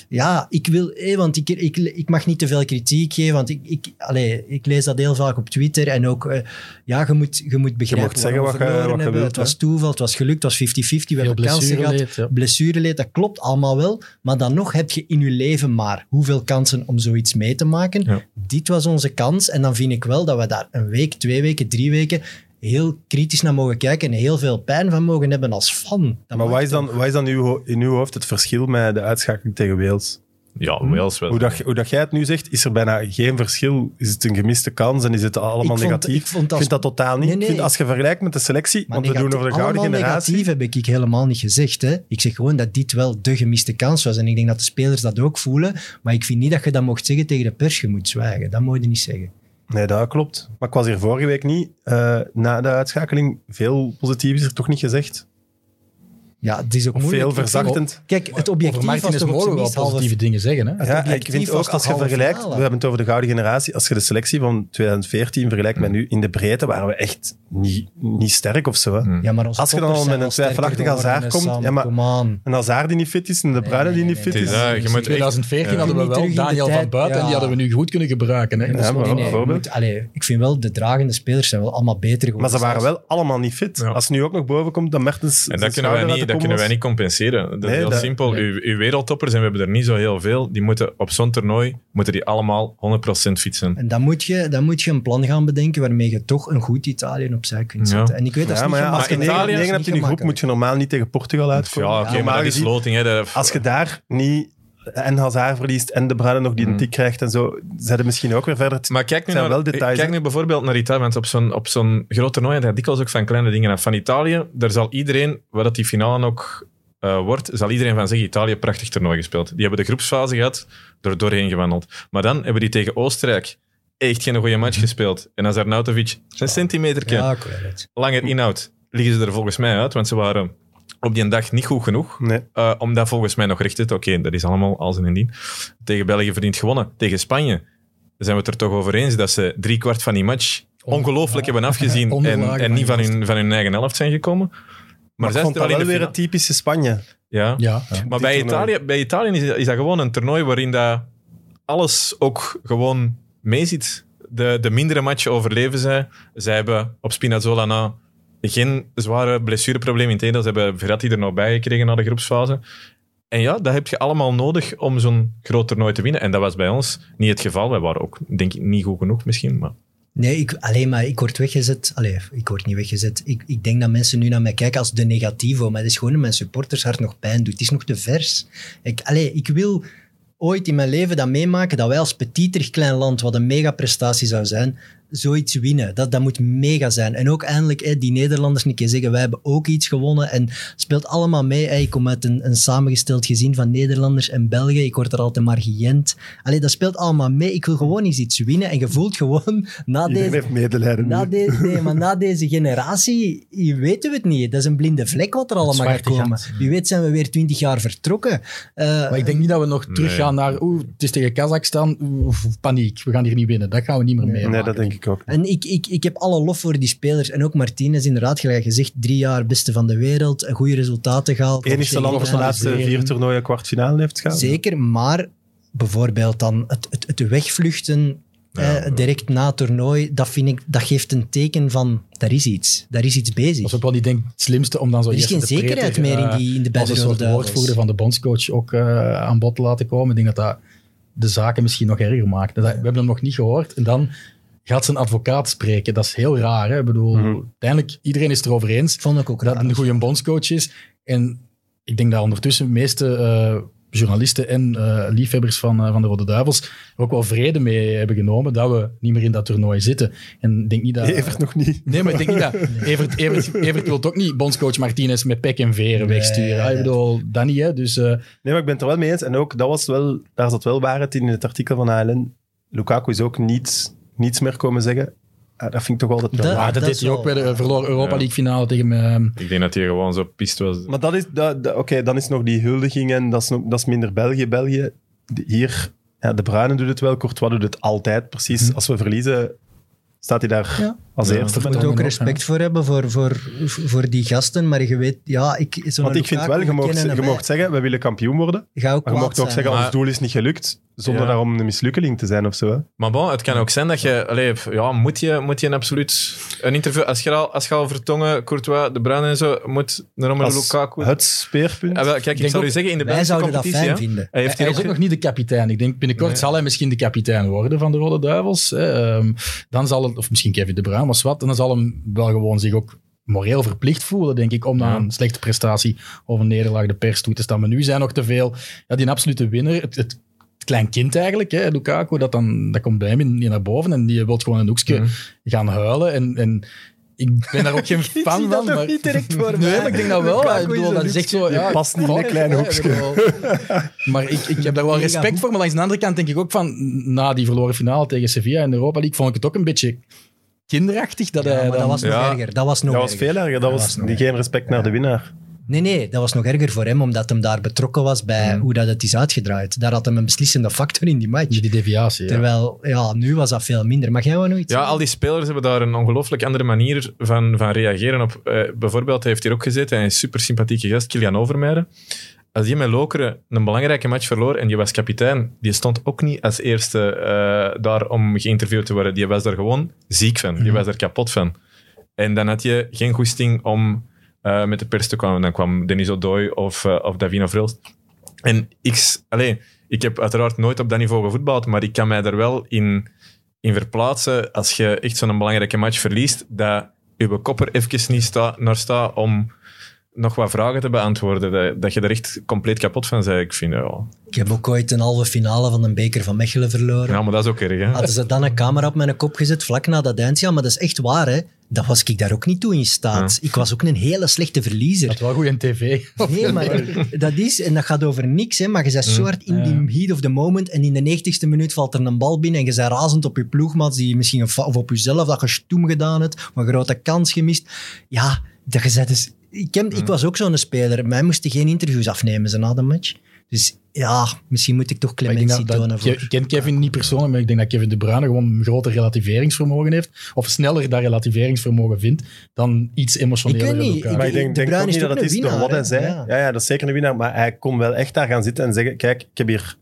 Ja, ik wil... eh, want ik, ik, ik mag niet te veel kritiek geven, want ik, ik, allee, ik lees dat heel vaak op Twitter. En ook, eh, ja, je moet, je moet begrijpen mocht zeggen waarom we wat je- verloren wat je hebben. wilt, Het hè. was toeval, het was gelukt, het was 50-50. We Veel hebben kansen gehad blessureleed, ja. blessureleed, dat klopt allemaal wel. Maar dan nog heb je in je leven maar hoeveel kansen om zoiets mee te maken. Ja. Dit was onze kans. En dan vind ik wel dat we daar een week, twee weken, drie weken heel kritisch naar mogen kijken en heel veel pijn van mogen hebben als fan. Dat maar mag wat is toch? dan, wat is dan uw ho- in uw hoofd het verschil met de uitschakeling tegen Wales? Ja, Wales wel. Hoe, dat, hoe dat jij het nu zegt, is er bijna geen verschil. Is het een gemiste kans en is het allemaal Ik vond- negatief? ik vond als- vind dat totaal niet. Nee, nee. Ik vind als je vergelijkt met de selectie, Maar want we doen negatief- over de gouden allemaal generatie... negatief heb ik, ik helemaal niet gezegd. Hè. Ik zeg gewoon dat dit wel de gemiste kans was. En ik denk dat de spelers dat ook voelen. Maar ik vind niet dat je dat mocht zeggen tegen de pers. Je moet zwijgen. Dat moet je niet zeggen. Nee, dat klopt. Maar ik was hier vorige week niet. eh, na de uitschakeling, veel positief is er toch niet gezegd? Ja, het is ook Of moeilijk. veel Ik vind- verzachtend? Kijk, het Over objectief was Martinez toch op mogen zijn we wel minst halve positieve dingen zeggen. Hè? Ja, ik objectief vind was ook als toch je halve vergelijkt, we finale? hebben het over de gouden generatie, als je de selectie van 2014 vergelijkt met nu, in de breedte waren we echt niet, niet sterk of zo. hè. Hm. Ja, maar onze Als je dan toppers al met een zijn wel sterker twijfelachtige geworden, Hazard komt, Sam, ja, maar- come on. En als Haar die niet fit is en de Bruine die niet fit Het is. is, ja, je In moet echt... 2014 hadden we Niet terug wel in de Daniel van tijd, Buiten en die ja. hadden we nu goed kunnen gebruiken. Hè? Ja, maar Nee, nee, je bijvoorbeeld. moet- allee, ik vind wel, de dragende spelers zijn wel allemaal beter geworden. Maar ze waren Zelfs- wel allemaal niet fit. Ja. Als het nu ook nog boven komt, dan Mertens En zijn dat kunnen, wij schouder niet, uit de dat kunnen wij kom niet compenseren. Dat Nee, is heel dat- simpel. nee. Uw, uw wereldtoppers, en we hebben er niet zo heel veel, die moeten op zo'n toernooi moeten die allemaal 100% fietsen. En dan moet, je, dan moet je een plan gaan bedenken waarmee je toch een goed Italië opzij kunt Ja. zetten. En ik weet dat was. is Ja, niet maar ja, als gemakkelijk. je Maar 9 Italië is hebt in die groep, moet je normaal niet tegen Portugal Ja, uitkomen. oké, maar Normaal dat is gezien, loting. Hè, dat- Als je daar niet en Hazard verliest en de Bruine nog die Hmm. een tik krijgt en zo, zijn er misschien ook weer verder. te- Maar kijk Het nu, zijn naar, wel details, kijk hè? nu bijvoorbeeld naar Italië, want op zo'n, op zo'n groot toernooi dat dikwijls ook van kleine dingen af. Van Italië, daar zal iedereen, waar dat die finale ook eh, wordt, zal iedereen van zeggen, Italië, prachtig toernooi gespeeld. Die hebben de groepsfase gehad, er doorheen gewandeld. Maar dan hebben die tegen Oostenrijk echt geen goede match gespeeld. En als Arnautovic een centimeter Ja, ik weet het. langer inhoudt, liggen ze er volgens mij uit, want ze waren op die dag niet goed genoeg. Nee. Eh, om dat volgens mij nog recht te doen. Oké, dat is allemaal als en indien. Tegen België verdiend gewonnen. Tegen Spanje zijn we het er toch over eens dat ze drie kwart van die match ongelooflijk hebben [laughs] afgezien en, Onderlagen en van niet van die hun, van hun eigen helft zijn gekomen. Maar, Maar ik zij vond zitten dat wel wel in de weer finale. het typische Spanje. Ja. Ja, ja. Maar bij toernooi. Italië, bij Italië is, is dat gewoon een toernooi waarin dat alles ook gewoon meezit. De, de mindere matchen overleven zij. Zij hebben op Spinazzola na geen zware blessureproblemen. Integendeel, ze hebben Verratti er nog bij gekregen na de groepsfase. En ja, dat heb je allemaal nodig om zo'n groot toernooi te winnen. En dat was bij ons niet het geval. Wij waren ook, denk ik, niet goed genoeg misschien. Maar Nee, ik, alleen maar ik word weggezet. Allee, ik word niet weggezet. Ik, ik denk dat mensen nu naar mij kijken als de negativo. Maar het is gewoon dat mijn supportershart nog pijn doet. Het is nog te vers. Ik, allee, ik wil ooit in mijn leven dat meemaken dat wij als petiterig klein land, wat een mega prestatie zou zijn, zoiets winnen. Dat, dat moet mega zijn. En ook eindelijk hè, die Nederlanders een keer zeggen, wij hebben ook iets gewonnen. En het speelt allemaal mee. Hè. Ik kom uit een, een samengesteld gezin van Nederlanders en Belgen. Ik word er altijd maar geënt. Allee, dat speelt allemaal mee. Ik wil gewoon eens iets winnen. En je voelt gewoon, na Iedereen deze, heeft medelijden. na nu. de- nee, maar na deze generatie je weten we het niet. Dat is een blinde vlek wat er allemaal gaat zwarte komen. gat. Wie weet zijn we weer twintig jaar vertrokken. Eh, Maar ik denk niet dat we nog Nee. teruggaan naar. Oeh, het is tegen Kazachstan. Oeh, paniek. We gaan hier niet winnen. Dat gaan we niet meer mee. Nee, dat denk ik ik ook. En ik, ik, ik heb alle lof voor die spelers. En ook Martinez, inderdaad, gelijk gezegd, drie jaar beste van de wereld, goede resultaten gehaald. Enigste land dat de laatste vier toernooien kwartfinale heeft gehaald. Zeker, maar bijvoorbeeld dan het, het, het wegvluchten eh, ja. direct na het toernooi, dat, vind ik, dat geeft een teken van, daar is iets. Daar is iets bezig. Dat is ook wel, die denk ik, het slimste om dan zo Er is eerst geen de preter, zekerheid meer in eh, die in de als een soort Battle woordvoerder van de bondscoach ook eh, aan bod te laten komen. Ik denk dat dat de zaken misschien nog erger maakt. Dat- We hebben hem nog niet gehoord. En dan gaat zijn advocaat spreken. Dat is heel raar. Hè? Ik bedoel, uiteindelijk, iedereen is het erover eens Vond ik ook dat raar. het een goede bondscoach is. En ik denk dat ondertussen de meeste eh, journalisten en eh, liefhebbers van, eh, van de Rode Duivels er ook wel vrede mee hebben genomen dat we niet meer in dat toernooi zitten. En ik denk niet dat... Evert nog niet. Nee, maar ik denk niet dat. [laughs] Evert, Evert, Evert wil ook niet bondscoach Martinez met pek en veren Nee, wegsturen. Ah, nee. Ik bedoel, dat niet, hè. Dus eh, Nee, maar ik ben het er wel mee eens. En ook, dat was wel, daar zat wel waarheid in, in het artikel van ALN. Lukaku is ook niets, niets meer komen zeggen. Ah, dat vind ik toch altijd wel Dat- waar. maar dat, is deed hij ook wel- eh, bij de verloren Europa Ja. League finale tegen... ehm, Ik denk dat hij gewoon zo pist was. Maar dat is, dat, dat- oké, dan is nog die huldiging en dat is, nog- dat is minder België. België, de- hier, ja, de Bruinen doet het wel, Courtois doet het altijd precies. Als we verliezen, staat hij daar Mhm. Ja. als Ja. eerste. Je bij. moet ook Ja. respect voor hebben voor, voor, voor die gasten, maar je weet, ja, ik... zo'n Want ik vind Lukaku wel, je kennen moogt, je hem, hè. moogt zeggen, we willen kampioen worden. Maar Ga ook je kwaad moogt ook zijn. zeggen, Maar- ons doel is niet gelukt, zonder Ja. daarom een mislukkeling te zijn of zo. hè. Maar bon, het kan ook zijn dat je... Allee, ja, moet je, moet je een absoluut... Een interview... Als je al, als je al Vertongen, Courtois, De Bruyne en zo moet naar Romelu Als Lukaku... het speerpunt. Ah, wel, kijk, ik Denk zou ook- u zeggen, in de Wij Belgische zouden dat competitie... fijn hè, vinden. Eh, hij heeft hij hier is ook ook... nog niet de kapitein. Ik denk binnenkort Nee. zal hij misschien de kapitein worden van de Rode Duivels. hè. Ehm, dan zal het, of misschien Kevin De Bruyne, was wat. En dan zal hem wel gewoon zich ook moreel verplicht voelen, denk ik, om na Ja. een slechte prestatie of een nederlaag de pers toe te staan. Maar nu zijn nog te veel. Ja, die absolute winnaar, het, het klein kind eigenlijk, hè, Lukaku, dat, dan, dat komt bij hem in, in naar boven en die wil gewoon een hoekje Mhm. gaan huilen. En, en ik ben daar ook [laughs] geen fan zie dat van. nog maar... niet direct voor Nee, mij. maar ik denk dat wel. Lukaku Ik bedoel, is een dat is echt zo... Ja, past niet in een [laughs] fuck, klein hè, ik hoekje. bedoel. Maar ik, ik heb daar wel Mega respect goed. voor. Maar langs de andere kant denk ik ook van... Na die verloren finale tegen Sevilla in de Europa League vond ik het ook een beetje kinderachtig. Dat Ja, hij Eh, maar dan- dat was nog Ja. erger. Dat was nog dat was erger. veel erger, dat was nog geen respect naar de winnaar. Nee, nee, dat was nog erger voor hem, omdat hem daar betrokken was bij hoe dat het is uitgedraaid. Daar had hem een beslissende factor in die match. Die deviatie, ja. Terwijl, ja, nu was dat veel minder. Maar jij wou nooit Ja, al die spelers hebben daar een ongelooflijk andere manier van, van reageren op. Eh, bijvoorbeeld, hij heeft hier ook gezeten, hij is een super sympathieke gast, Kilian Overmeijer. Als die met Lokeren een belangrijke match verloor en die was kapitein, die stond ook niet als eerste eh, daar om geïnterviewd te worden. Die was daar gewoon ziek van, die was er kapot van. En dan had je geen goesting om eh, met de pers te komen. Dan kwam Denis Odoi of, eh, of Davino Vrils. En ik, allee, ik heb uiteraard nooit op dat niveau gevoetbald, maar ik kan mij er wel in, in verplaatsen als je echt zo'n belangrijke match verliest, dat je kopper even niet sta, naar staat om nog wat vragen te beantwoorden. Dat, dat je er echt compleet kapot van bent. Ik vind, ja, Ik heb ook ooit een halve finale van een beker van Mechelen verloren. ja maar dat is ook [laughs] erg. Hè? Hadden ze dan een camera op mijn kop gezet, vlak na dat eindje. Ja, maar dat is echt waar, hè. Dat was ik daar ook niet toe in staat. Ik was ook een hele slechte verliezer. Dat was wel goed in tv. Nee, maar dat is, en dat gaat over niks, hè, maar je bent zo hard in die heat of the moment en in de 90ste minuut valt er een bal binnen en je bent razend op je ploegmaats die misschien een fa- of op jezelf dat je stoem gedaan hebt, of een grote kans gemist. Ja, dat je bent dus... Ik, ken- ik was ook zo'n speler. Mij moesten geen interviews afnemen ze na de match. Dus ja, misschien moet ik toch Maar ik, clementie denk dat, tonen dat, voor... ik ken Kevin niet persoonlijk, maar ik denk dat Kevin De Bruyne gewoon een groter relativeringsvermogen heeft. Of sneller dat relativeringsvermogen vindt dan iets emotioneler. Ik weet niet, Maar Die- ik denk, De denk Bruyne ook is niet toch dat het een is door winnaar, wat hij zei. hè? Ja. Ja. ja, dat is zeker een winnaar. Maar hij kon wel echt daar gaan zitten en zeggen, kijk, ik heb hier...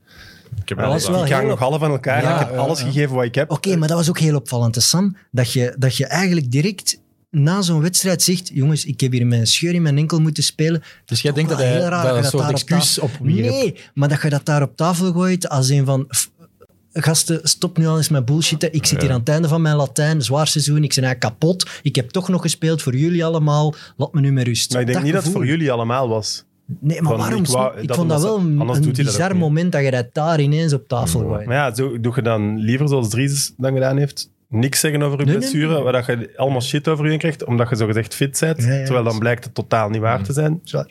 Ik heb Maar dat is wel ik hang heel nog half aan elkaar. Ja, ik heb ja, alles ja. gegeven wat ik heb. Oké, maar dat was ook heel opvallend, hè, Sam. Dat je, dat je eigenlijk direct na zo'n wedstrijd zegt... Jongens, ik heb hier mijn scheur in mijn enkel moeten spelen. Dus jij Ook denkt dat wel hij heel raar dat een dat soort daar op excuus op wierp. Nee, maar dat je dat daar op tafel gooit als een van... "F- Gasten, stop nu al eens met bullshitten. Ik zit hier aan het einde van mijn Latijn, zwaar seizoen. Ik ben eigenlijk kapot. Ik heb toch nog gespeeld voor jullie allemaal. Laat me nu met rust. Maar ik denk niet dat het gevoel. voor jullie allemaal was. Nee, maar Van, waarom? ik Ik, wou- ik dat vond dat omdat- wel een, anders een doet hij dat ook bizar niet. moment dat je dat daar ineens op tafel Mm, gooit. Maar ja, zo doe je dan liever zoals Dries dan gedaan heeft. Niks zeggen over je Nee, nee, blessure, nee. waar dat je allemaal shit over je krijgt, omdat je zogezegd fit bent. Ja, ja. terwijl dan blijkt het totaal niet waar te zijn. Ja,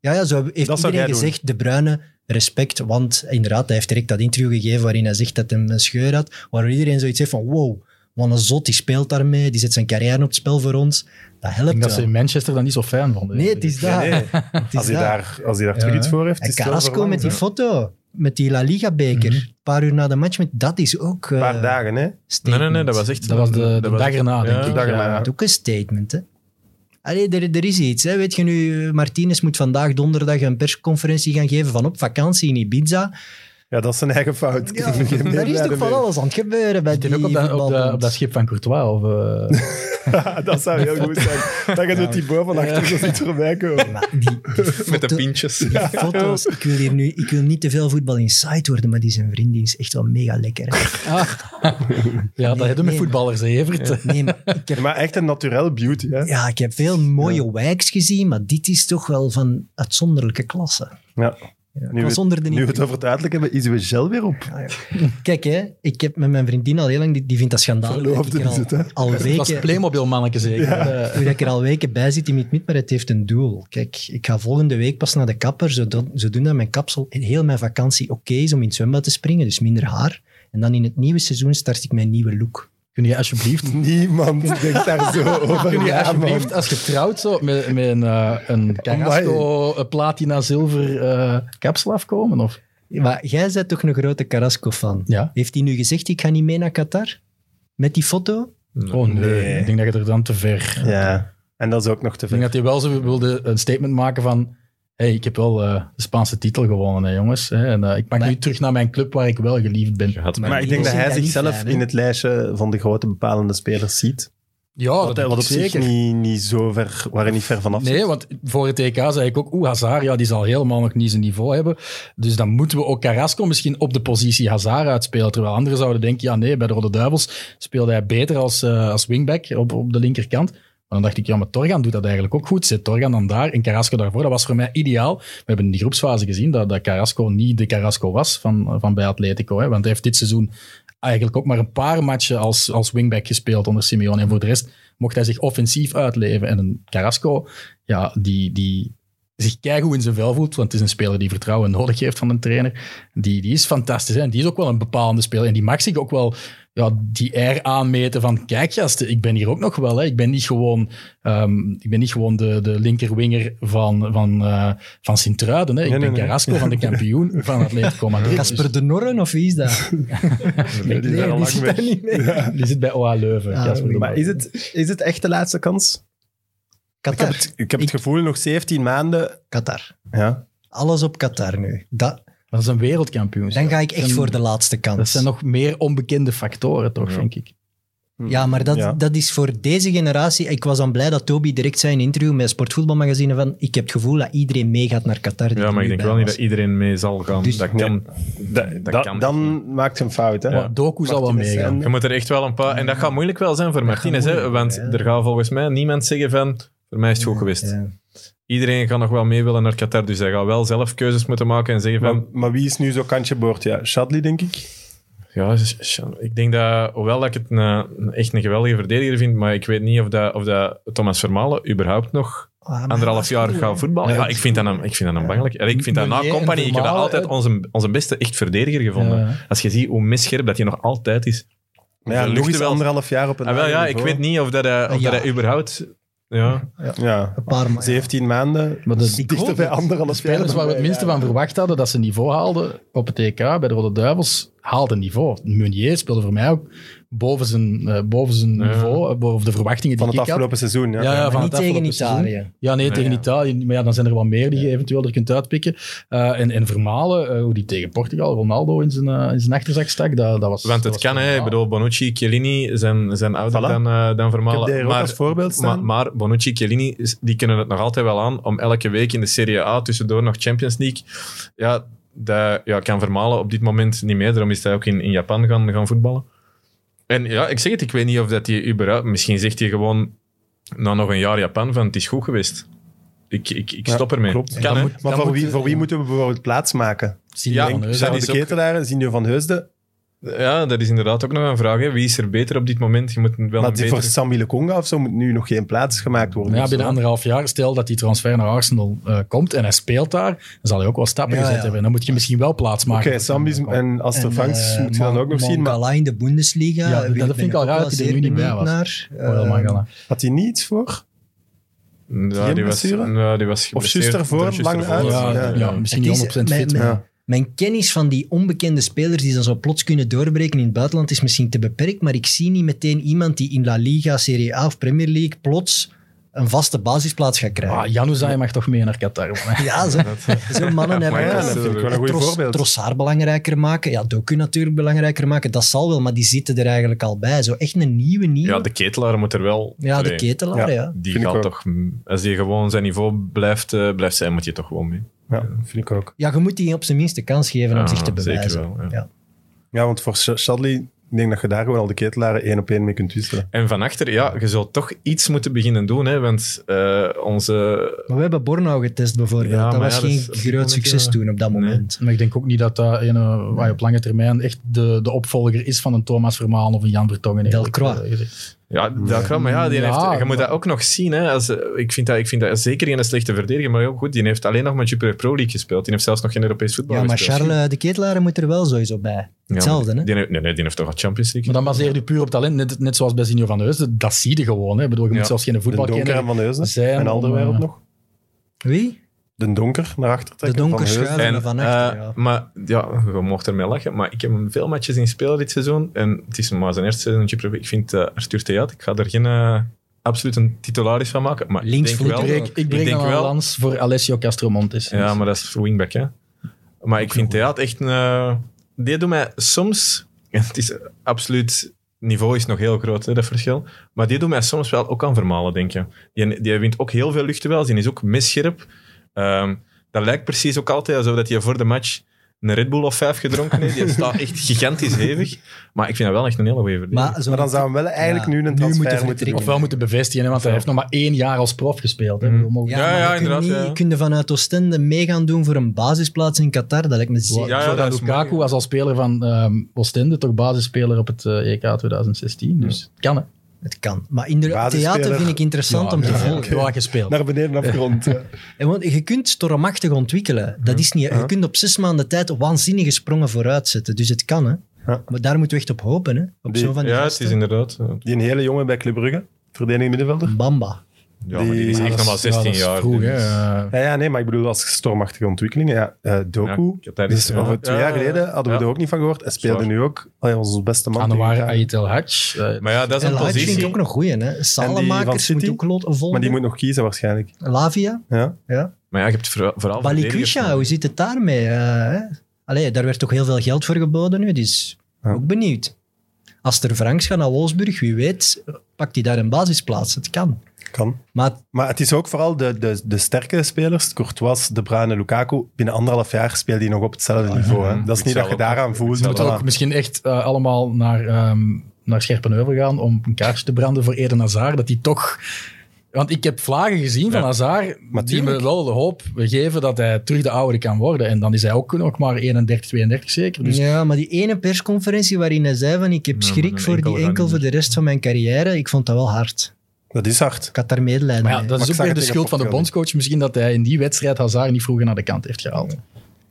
ja, zo heeft Dat zou jij iedereen doen. gezegd, De Bruyne, respect. Want inderdaad, hij heeft direct dat interview gegeven waarin hij zegt dat hij een scheur had. Waardoor iedereen zoiets heeft van, wow, wat een zot, die speelt daarmee. Die zet zijn carrière op het spel voor ons. Dat Ik denk helpt dat ze wel. in Manchester dan niet zo fijn vonden. Nee, het is Nee, daar. nee. Het is Als hij daar. daar, als hij daar terug Ja. iets voor heeft, En is het wel Carrasco met die verwarrend, foto. met die La Liga-beker, Mhm. een paar uur na de match, met, dat is ook eh, Een paar dagen, hè? Nee, statement. nee, nee, dat was echt... Dat was de, de dag erna, denk ja. ik. De dag Ja. erna. Dat is ook een statement, hè. Allee, er, er is iets. Hè. Weet je nu, eh, Martinez moet vandaag donderdag een persconferentie gaan geven van op vakantie in Ibiza. Ja, dat is zijn eigen fout. Ja, daar is toch van alles aan het gebeuren bij Zit die hij ook op dat, op, dat, voetbalbond. op dat schip van Courtois? Of, eh, [laughs] alles. dat zou heel goed zijn. Dan gaat die boven van achter zo niet voorbij komen. Maar die, [laughs] Met de foto- pintjes. [laughs] die foto's, ik wil hier nu ik wil niet te veel voetbal insight worden, maar die zijn vriendin is echt wel mega lekker. hè. ja, dat hebben we met nee, voetballers, hè, Evert. Nee, maar ik heb, Maar echt een naturel beauty, hè? ja, ik heb veel mooie wijks gezien, maar dit is toch wel van uitzonderlijke klasse. Ja. Ja, ik Nu was we- onder de Ah, Nu we indruk. het over het uiterlijk hebben, is uw gel weer op. Kijk, hè, ik heb met mijn vriendin al heel lang, die, die vindt dat schandalig. dat Verloofde ik er is het, hè? al, al Dat was weken, Playmobil-mannetje zeker. Eh, hoe dat ik er al weken bij zit in Meet Meet, maar het heeft een doel. Kijk, ik ga volgende week pas naar de kapper, zodat, zodoende mijn kapsel in heel mijn vakantie oké is om in het zwembad te springen, dus minder haar. En dan in het nieuwe seizoen start ik mijn nieuwe look. kun je alsjeblieft Niemand denkt daar [laughs] zo over. Kun je na, man. alsjeblieft, als je trouwt, zo, met, met een, eh, een Carrasco eh, platina zilver eh kapsel afkomen? Of? Maar jij bent toch een grote Carrasco-fan? Ja. Heeft hij nu gezegd, ik ga niet mee naar Qatar? Met die foto? Oh nee. Nee. ik denk dat je er dan te ver... Ja, en dat is ook nog te Ik denk veel. dat hij wel zo wilde een statement maken van... hey, ik heb wel eh, de Spaanse titel gewonnen, hè, jongens. Hè, en, eh, ik mag nu terug naar mijn club waar ik wel geliefd ben. Je had mij Maar ik denk dat Ik hij zie dat niet zichzelf fijn, hè? in het lijstje van de grote bepalende spelers ziet. Ja, wat wat op zich niet, niet zo ver, waar hij niet ver vanaf zit. Nee, want voor het EK zei ik ook, oeh, Hazard, ja, die zal helemaal nog niet zijn niveau hebben. Dus dan moeten we ook Carrasco misschien op de positie Hazard uitspelen. Terwijl anderen zouden denken, ja nee, bij de Rode Duivels speelde hij beter als, eh, als wingback op, op de linkerkant. Maar dan dacht ik, ja, maar Torgan doet dat eigenlijk ook goed. Zet Torgan dan daar en Carrasco daarvoor. Dat was voor mij ideaal. We hebben in die groepsfase gezien dat, dat Carrasco niet de Carrasco was van, van bij Atletico. Hè, want hij heeft dit seizoen eigenlijk ook maar een paar matchen als, als wingback gespeeld onder Simeone. En voor de rest mocht hij zich offensief uitleven. En een Carrasco, ja, die, die zich keigoed in zijn vel voelt, want het is een speler die vertrouwen nodig heeft van een trainer, die, die is fantastisch. Hè? En die is ook wel een bepalende speler. En die mag zich ook wel ja, die air aanmeten van, kijk gasten, ik ben hier ook nog wel. Hè? Ik ben niet gewoon, ehm, ik ben niet gewoon de, de linkerwinger van, van, eh, van Sint-Truiden. Hè? Ik Nee, ben nee, nee. Carrasco van [laughs] de kampioen van Atletico Madrid. Dus Casper de Norren, of wie is dat? [laughs] Nee, die is daar al lang weg. niet mee. Ja. Dus- die zit bij OA Leuven. Ah, Casper de Maar Bouw. is het, is het echt de laatste kans? Ik heb Qatar. het, ik heb het gevoel nog 17 maanden. Qatar. Ja. Alles op Qatar nu. Dat, Dat is een wereldkampioen. dan ga ik echt Zijn- voor de laatste kans. Dat zijn nog meer onbekende factoren, toch, denk ik. Ja, maar dat, Ja. dat is voor deze generatie. Ik was dan blij dat Toby direct zei in een interview met Sportvoetbalmagazine van ik heb het gevoel dat iedereen meegaat naar Qatar. die Ja, er maar ik nu denk bij wel niet was. dat iedereen mee zal gaan. Dus- dat Nee. kan. Da- dat da- kan niet. dan maakt hij een fout. Hè? Maar Doku zal wel Martinez meegaan. en- Je moet er echt wel een paar... En dat gaat moeilijk wel zijn voor Dat Martinez, gaat hè, moeilijk, want ja. er gaat volgens mij niemand zeggen van... Voor mij is het goed geweest. Ja. Iedereen gaat nog wel mee willen naar Qatar, dus hij gaat wel zelf keuzes moeten maken en zeggen Maar, van... maar wie is nu zo kantje boord? Ja, Shadley, denk ik. Ja, sh- sh- ik denk dat, hoewel dat ik het een, een- echt een geweldige verdediger vind, maar ik weet niet of, dat, of dat Thomas Vermalen überhaupt nog Ah, maar anderhalf dat is jaar cool, gaat hè. voetballen. Ja, ik vind dat een, ik vind dat een bangelijk. En ik vind dat na Meunier en Company, ik heb dat Vermalen, altijd hè. onze, onze beste echt verdediger gevonden. Ja. Als je ziet hoe misscherp dat hij nog altijd is. Maar ja, nog luchten eens wel- anderhalf jaar op een Ah, wel, ja, lager ik niveau. weet niet of dat hij, of Ja. dat hij überhaupt... Ja. Ja, Een paar maanden. 17 maanden. Maar dus de, Dichter bij anderhalf jaar. spelers dan waar we het bij, minste ja. van verwacht hadden dat ze niveau haalden op het EK bij de Rode Duivels, haalden niveau. Meunier speelde voor mij ook boven zijn, eh, boven zijn Ja. niveau, eh, boven de verwachtingen Van die het ik had. afgelopen seizoen. Ja. Ja, ja, Maar van niet het tegen afgelopen seizoen. Italië. Ja, nee, tegen ja. Italië. Maar ja, dan zijn er wel meer die je eventueel er kunt uitpikken. Eh, en, en Vermalen, eh, hoe die tegen Portugal Ronaldo in zijn, eh, in zijn achterzak stak, dat, dat was... Want dat het was kan, hè. Ik fenomenaal. bedoel, Bonucci, Chiellini zijn, zijn ouder Voilà. dan, eh, dan Ik heb Vermalen. die hier ook Maar- als voorbeeld Maar, staan. maar Bonucci, Chiellini, is- die kunnen het nog altijd wel aan om elke week in de Serie A tussendoor nog Champions League. Ja, dat ja, kan Vermalen op dit moment niet meer. Daarom is hij ook in, in Japan gaan, gaan voetballen. En ja, ik zeg het, ik weet niet of dat hij überhaupt... Misschien zegt hij gewoon na nog een jaar Japan van het is goed geweest. Ik, ik, ik Ja, stop ermee. klopt. Kan, hè? maar Dan voor, wie, moeten- voor wie moeten we bijvoorbeeld plaats maken? Sinjo Ja, van Heusden. dat Zijn we is de ook- ketelaren, Sinjo van Heusden. Ja, dat is inderdaad ook nog een vraag. Hè. Wie is er beter op dit moment? Je moet wel Maar een die beter... voor Sammy Lekonga of zo moet nu nog geen plaats gemaakt worden. Ja, Dus, binnen hè. anderhalf jaar, stel dat die transfer naar Arsenal eh, komt en hij speelt daar, dan zal hij ook wel stappen Ja, gezet ja. hebben. Dan moet je misschien wel plaats maken. Oké, voor Sambi is- Samuel. en als En, er vangs eh, moet je dan Mon- ook nog zien. Maar Mangala in de Bundesliga. Ja, eh, dat wil- vind ben ik al ook raar wel dat hij er zeer nu niet bij benieuwd was. Oh, Naar. Wel, Eh, Mangala. had hij niet iets voor? Ja, die was, blessure? ja, die Of juist was geblesseerd. daarvoor, Juist lang daarvoor. uit? Ja, Ja. ja, misschien Het niet is- eh, 100% fit. mijn- maar- Ja. mijn kennis van die onbekende spelers die dan zo plots kunnen doorbreken in het buitenland is misschien te beperkt, maar ik zie niet meteen iemand die in La Liga, Serie A of Premier League plots een vaste basisplaats gaat krijgen. Ah, Januzaj mag toch mee naar Qatar. [laughs] man. Ja, [laughs] zo, zo mannen hebben Maar eh, Ja, ja, dat dat is vind ik wel een goed Tros- voorbeeld. Trossard belangrijker maken. Ja, Doku natuurlijk belangrijker maken. Dat zal wel, maar die zitten er eigenlijk al bij. Zo echt een nieuwe, nieuwe. Ja, de ketelaar moet er wel. Ja, de Allee, ketelaar, Ja. ja. Die Vind ik gaat ook. toch, als die gewoon zijn niveau blijft, eh, blijft zijn, moet je toch gewoon mee. Ja, vind ik ook. Ja, je moet die op zijn minst de kans geven om Ja, zich te zeker bewijzen. wel, ja. Ja, want voor Sh- Shadley, ik denk dat je daar gewoon al de ketelaren één op één mee kunt wisselen. En van achter, ja, je zult toch iets moeten beginnen doen, hè, want eh, onze... Maar we hebben Bornau getest bijvoorbeeld. Ja, dat maar was ja, dat geen is- op dit groot moment, succes ja. toen op dat Nee. moment. Maar ik denk ook niet dat dat een, eh, waar je op lange termijn echt de, de opvolger is van een Thomas Vermaelen of een Jan Vertongen. eerlijk Delcroix. eh, gezegd. Ja, dat kan, maar ja, die Ja, heeft, je moet maar- dat ook nog zien. Hè, als, eh, ik, vind dat, ik vind dat zeker geen slechte verdediger, maar heel goed, die heeft alleen nog met Jupiler Pro League gespeeld. Die heeft zelfs nog geen Europees voetbal Ja, maar gespeeld. Charles eh, de Ketelaar moet er wel sowieso bij. Ja, maar Hetzelfde, hè? Die heeft, nee, nee, die heeft toch al Champions League. Maar dan baseer je puur op talent, net, net zoals bij Zinio van Heusden. Dat zie je gewoon. Hè. Ik bedoel, je Ja. moet zelfs geen De donker en voetbalkenner Van Heusden. zijn. En Alderwereld om, eh, nog. Wie? De donker naar achter De trekken. Van donker Heusden. schuiven En, van achter, eh, ja. Maar ja, je mocht ermee lachen. Maar ik heb hem veel matches zien spelen dit seizoen. En het is maar zijn eerste seizoentje. probeer- Ik vind eh, Arthur Theat, ik ga er geen eh, absoluut een titularis van maken. Maar Links ik denk voet wel... breek- ik breek denk dan een wel- lans voor Alessio Castromontes. Ja, maar dat is voor wingback, hè. Maar ik vind Theat echt een... eh, die doet mij soms... [laughs] Het is eh, absoluut... Niveau is nog heel groot, hè, dat verschil. Maar die doet mij soms wel ook aan vermalen, denk je. Die, die wint ook heel veel luchtduels. Die is ook misscherp. Ehm, dat lijkt precies ook altijd alsof dat hij voor de match een Red Bull of vijf gedronken heeft. [laughs] Die staat echt gigantisch hevig. Maar ik vind dat wel echt een hele goede verdediger. Maar, zo Maar dan zouden we wel eigenlijk Ja, nu nu een transfer moeten moeten, we doen. vertrekken. Ofwel moeten bevestigen, hè, want hij heeft nog maar één jaar als prof gespeeld. Hè. We mogen- ja, Ja, maar ja, je kunt inderdaad, niet- ja. Je kunt vanuit Oostende mee gaan doen voor een basisplaats in Qatar. Dat lijkt me zeer. Ja, zo dat dat is Lukaku mooi. was al speler van ehm Oostende, toch basisspeler op het eh, EK 2016. Dus het kan, hè. Het kan. Maar in de Basisspeler. theater vind ik interessant om te volgen. Ja, gespeeld. Naar beneden afgerond. eh. ja. [laughs] En want je kunt stormachtig ontwikkelen. Dat is niet, je Uh-huh. kunt op zes maanden tijd waanzinnige sprongen vooruit zetten. Dus het kan, hè. Ja. Maar daar moeten we echt op hopen, hè. Op Die- zo'n van eh, die ja, het gasten. is inderdaad... eh, Die een hele jongen bij Club Brugge, verdediging middenvelder. Bamba. Ja, maar die is Die- echt nog maar 16 Ja, dat is jaar. Vroeg, dus- hè. eh. Ja, ja, nee, maar ik bedoel als stormachtige ontwikkelingen. Ja, eh, Ja, Doku. ik heb daar dus iets van. over twee Ja, jaar ja, ja. geleden hadden we Ja. er ook niet van gehoord. En speelde Zwaar. nu ook allee, onze beste man. Anouar tegen Ghana. Ait El Hadj. eh, Maar ja, dat is En een Laatje vind ik positie. ook nog goeie, hè. Salemakers van moet City? ook lo- volgen. Maar die moet nog kiezen waarschijnlijk. Lavia, Ja? ja. Maar ja, je hebt vooral... vooral Balikwisha, hoe verdedigers. zit het daarmee? eh, hè? Allee, daar werd toch heel veel geld voor geboden nu, dus Ja. ook benieuwd. Als er Franks gaat naar Wolfsburg, wie weet, pakt hij daar een basisplaats. Het kan. Kan. Maar Maar het is ook vooral de, de, de sterke spelers, Courtois, De Bruyne, Lukaku. Binnen anderhalf jaar speelt die nog op hetzelfde niveau. Hè. ja. Dat is niet dat je Hetzelfde. daaraan voelt. Hetzelfde. voilà. moet ook misschien echt eh, allemaal naar, ehm naar Scherpenheuvel gaan om een kaarsje te branden voor Eden Hazard, dat hij toch... Want ik heb vlagen gezien van Ja. Hazard die me tuurlijk. wel de hoop geven dat hij terug de oude kan worden. En dan is hij ook nog maar 31, 32 zeker. Dus Ja, maar die ene persconferentie waarin hij zei van ik heb Ja, maar schrik een voor enkel die gaat enkel niet voor de rest van mijn carrière, ik vond dat wel hard. Dat is hard. Ik had daar medelijden Maar ja, mee. dat Maar is ik zag ook weer het de tegen schuld van de Portugal niet. bondscoach. Misschien dat hij in die wedstrijd Hazard niet vroeger naar de kant heeft gehaald.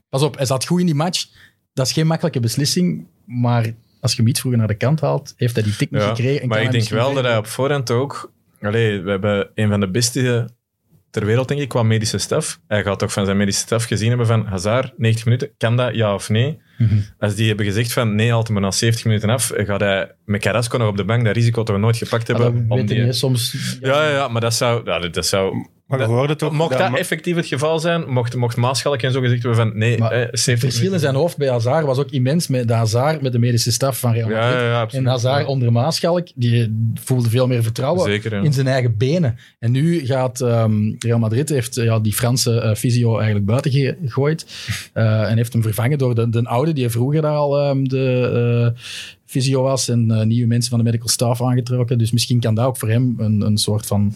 Pas op, hij zat goed in die match. Dat is geen makkelijke beslissing. Maar als je hem iets vroeger naar de kant haalt, heeft hij die tik niet Ja, gekregen. en maar kan ik hij denk wel misschien dat hij op voorhand ook... Allee, we hebben een van de beste ter wereld, denk ik, qua medische staf. Hij gaat toch van zijn medische staf gezien hebben van Hazard, 90 minuten, kan dat, ja of nee? Mhm. Als die hebben gezegd van nee, haalt hem er na 70 minuten af, gaat hij met Carrasco nog op de bank dat risico dat we nooit gepakt Maar hebben. Ah, dat om weten die... we soms. ja, ja, ja, maar dat zou... Ja, dat- dat zou Maar we Dat- hoorden toch... mocht dat effectief het geval zijn, mocht, mocht Maaschalk en zo gezegd hebben van nee, Maar eh, 70 Het verschil in minuten. zijn hoofd bij Hazard was ook immens met de Hazard met de medische staf van Real Madrid. Ja, ja, ja, absoluut. en Hazard onder Maaschalk, die voelde veel meer vertrouwen Zeker, ja. in zijn eigen benen. En nu gaat ehm, Real Madrid, heeft eh, ja, die Franse eh, fysio eigenlijk buiten ge- [laughs] gegooid eh, en heeft hem vervangen door de, de oude, die vroeger daar al ehm, de eh fysio was en eh, nieuwe mensen van de medical staff aangetrokken. Dus misschien kan dat ook voor hem een, een soort van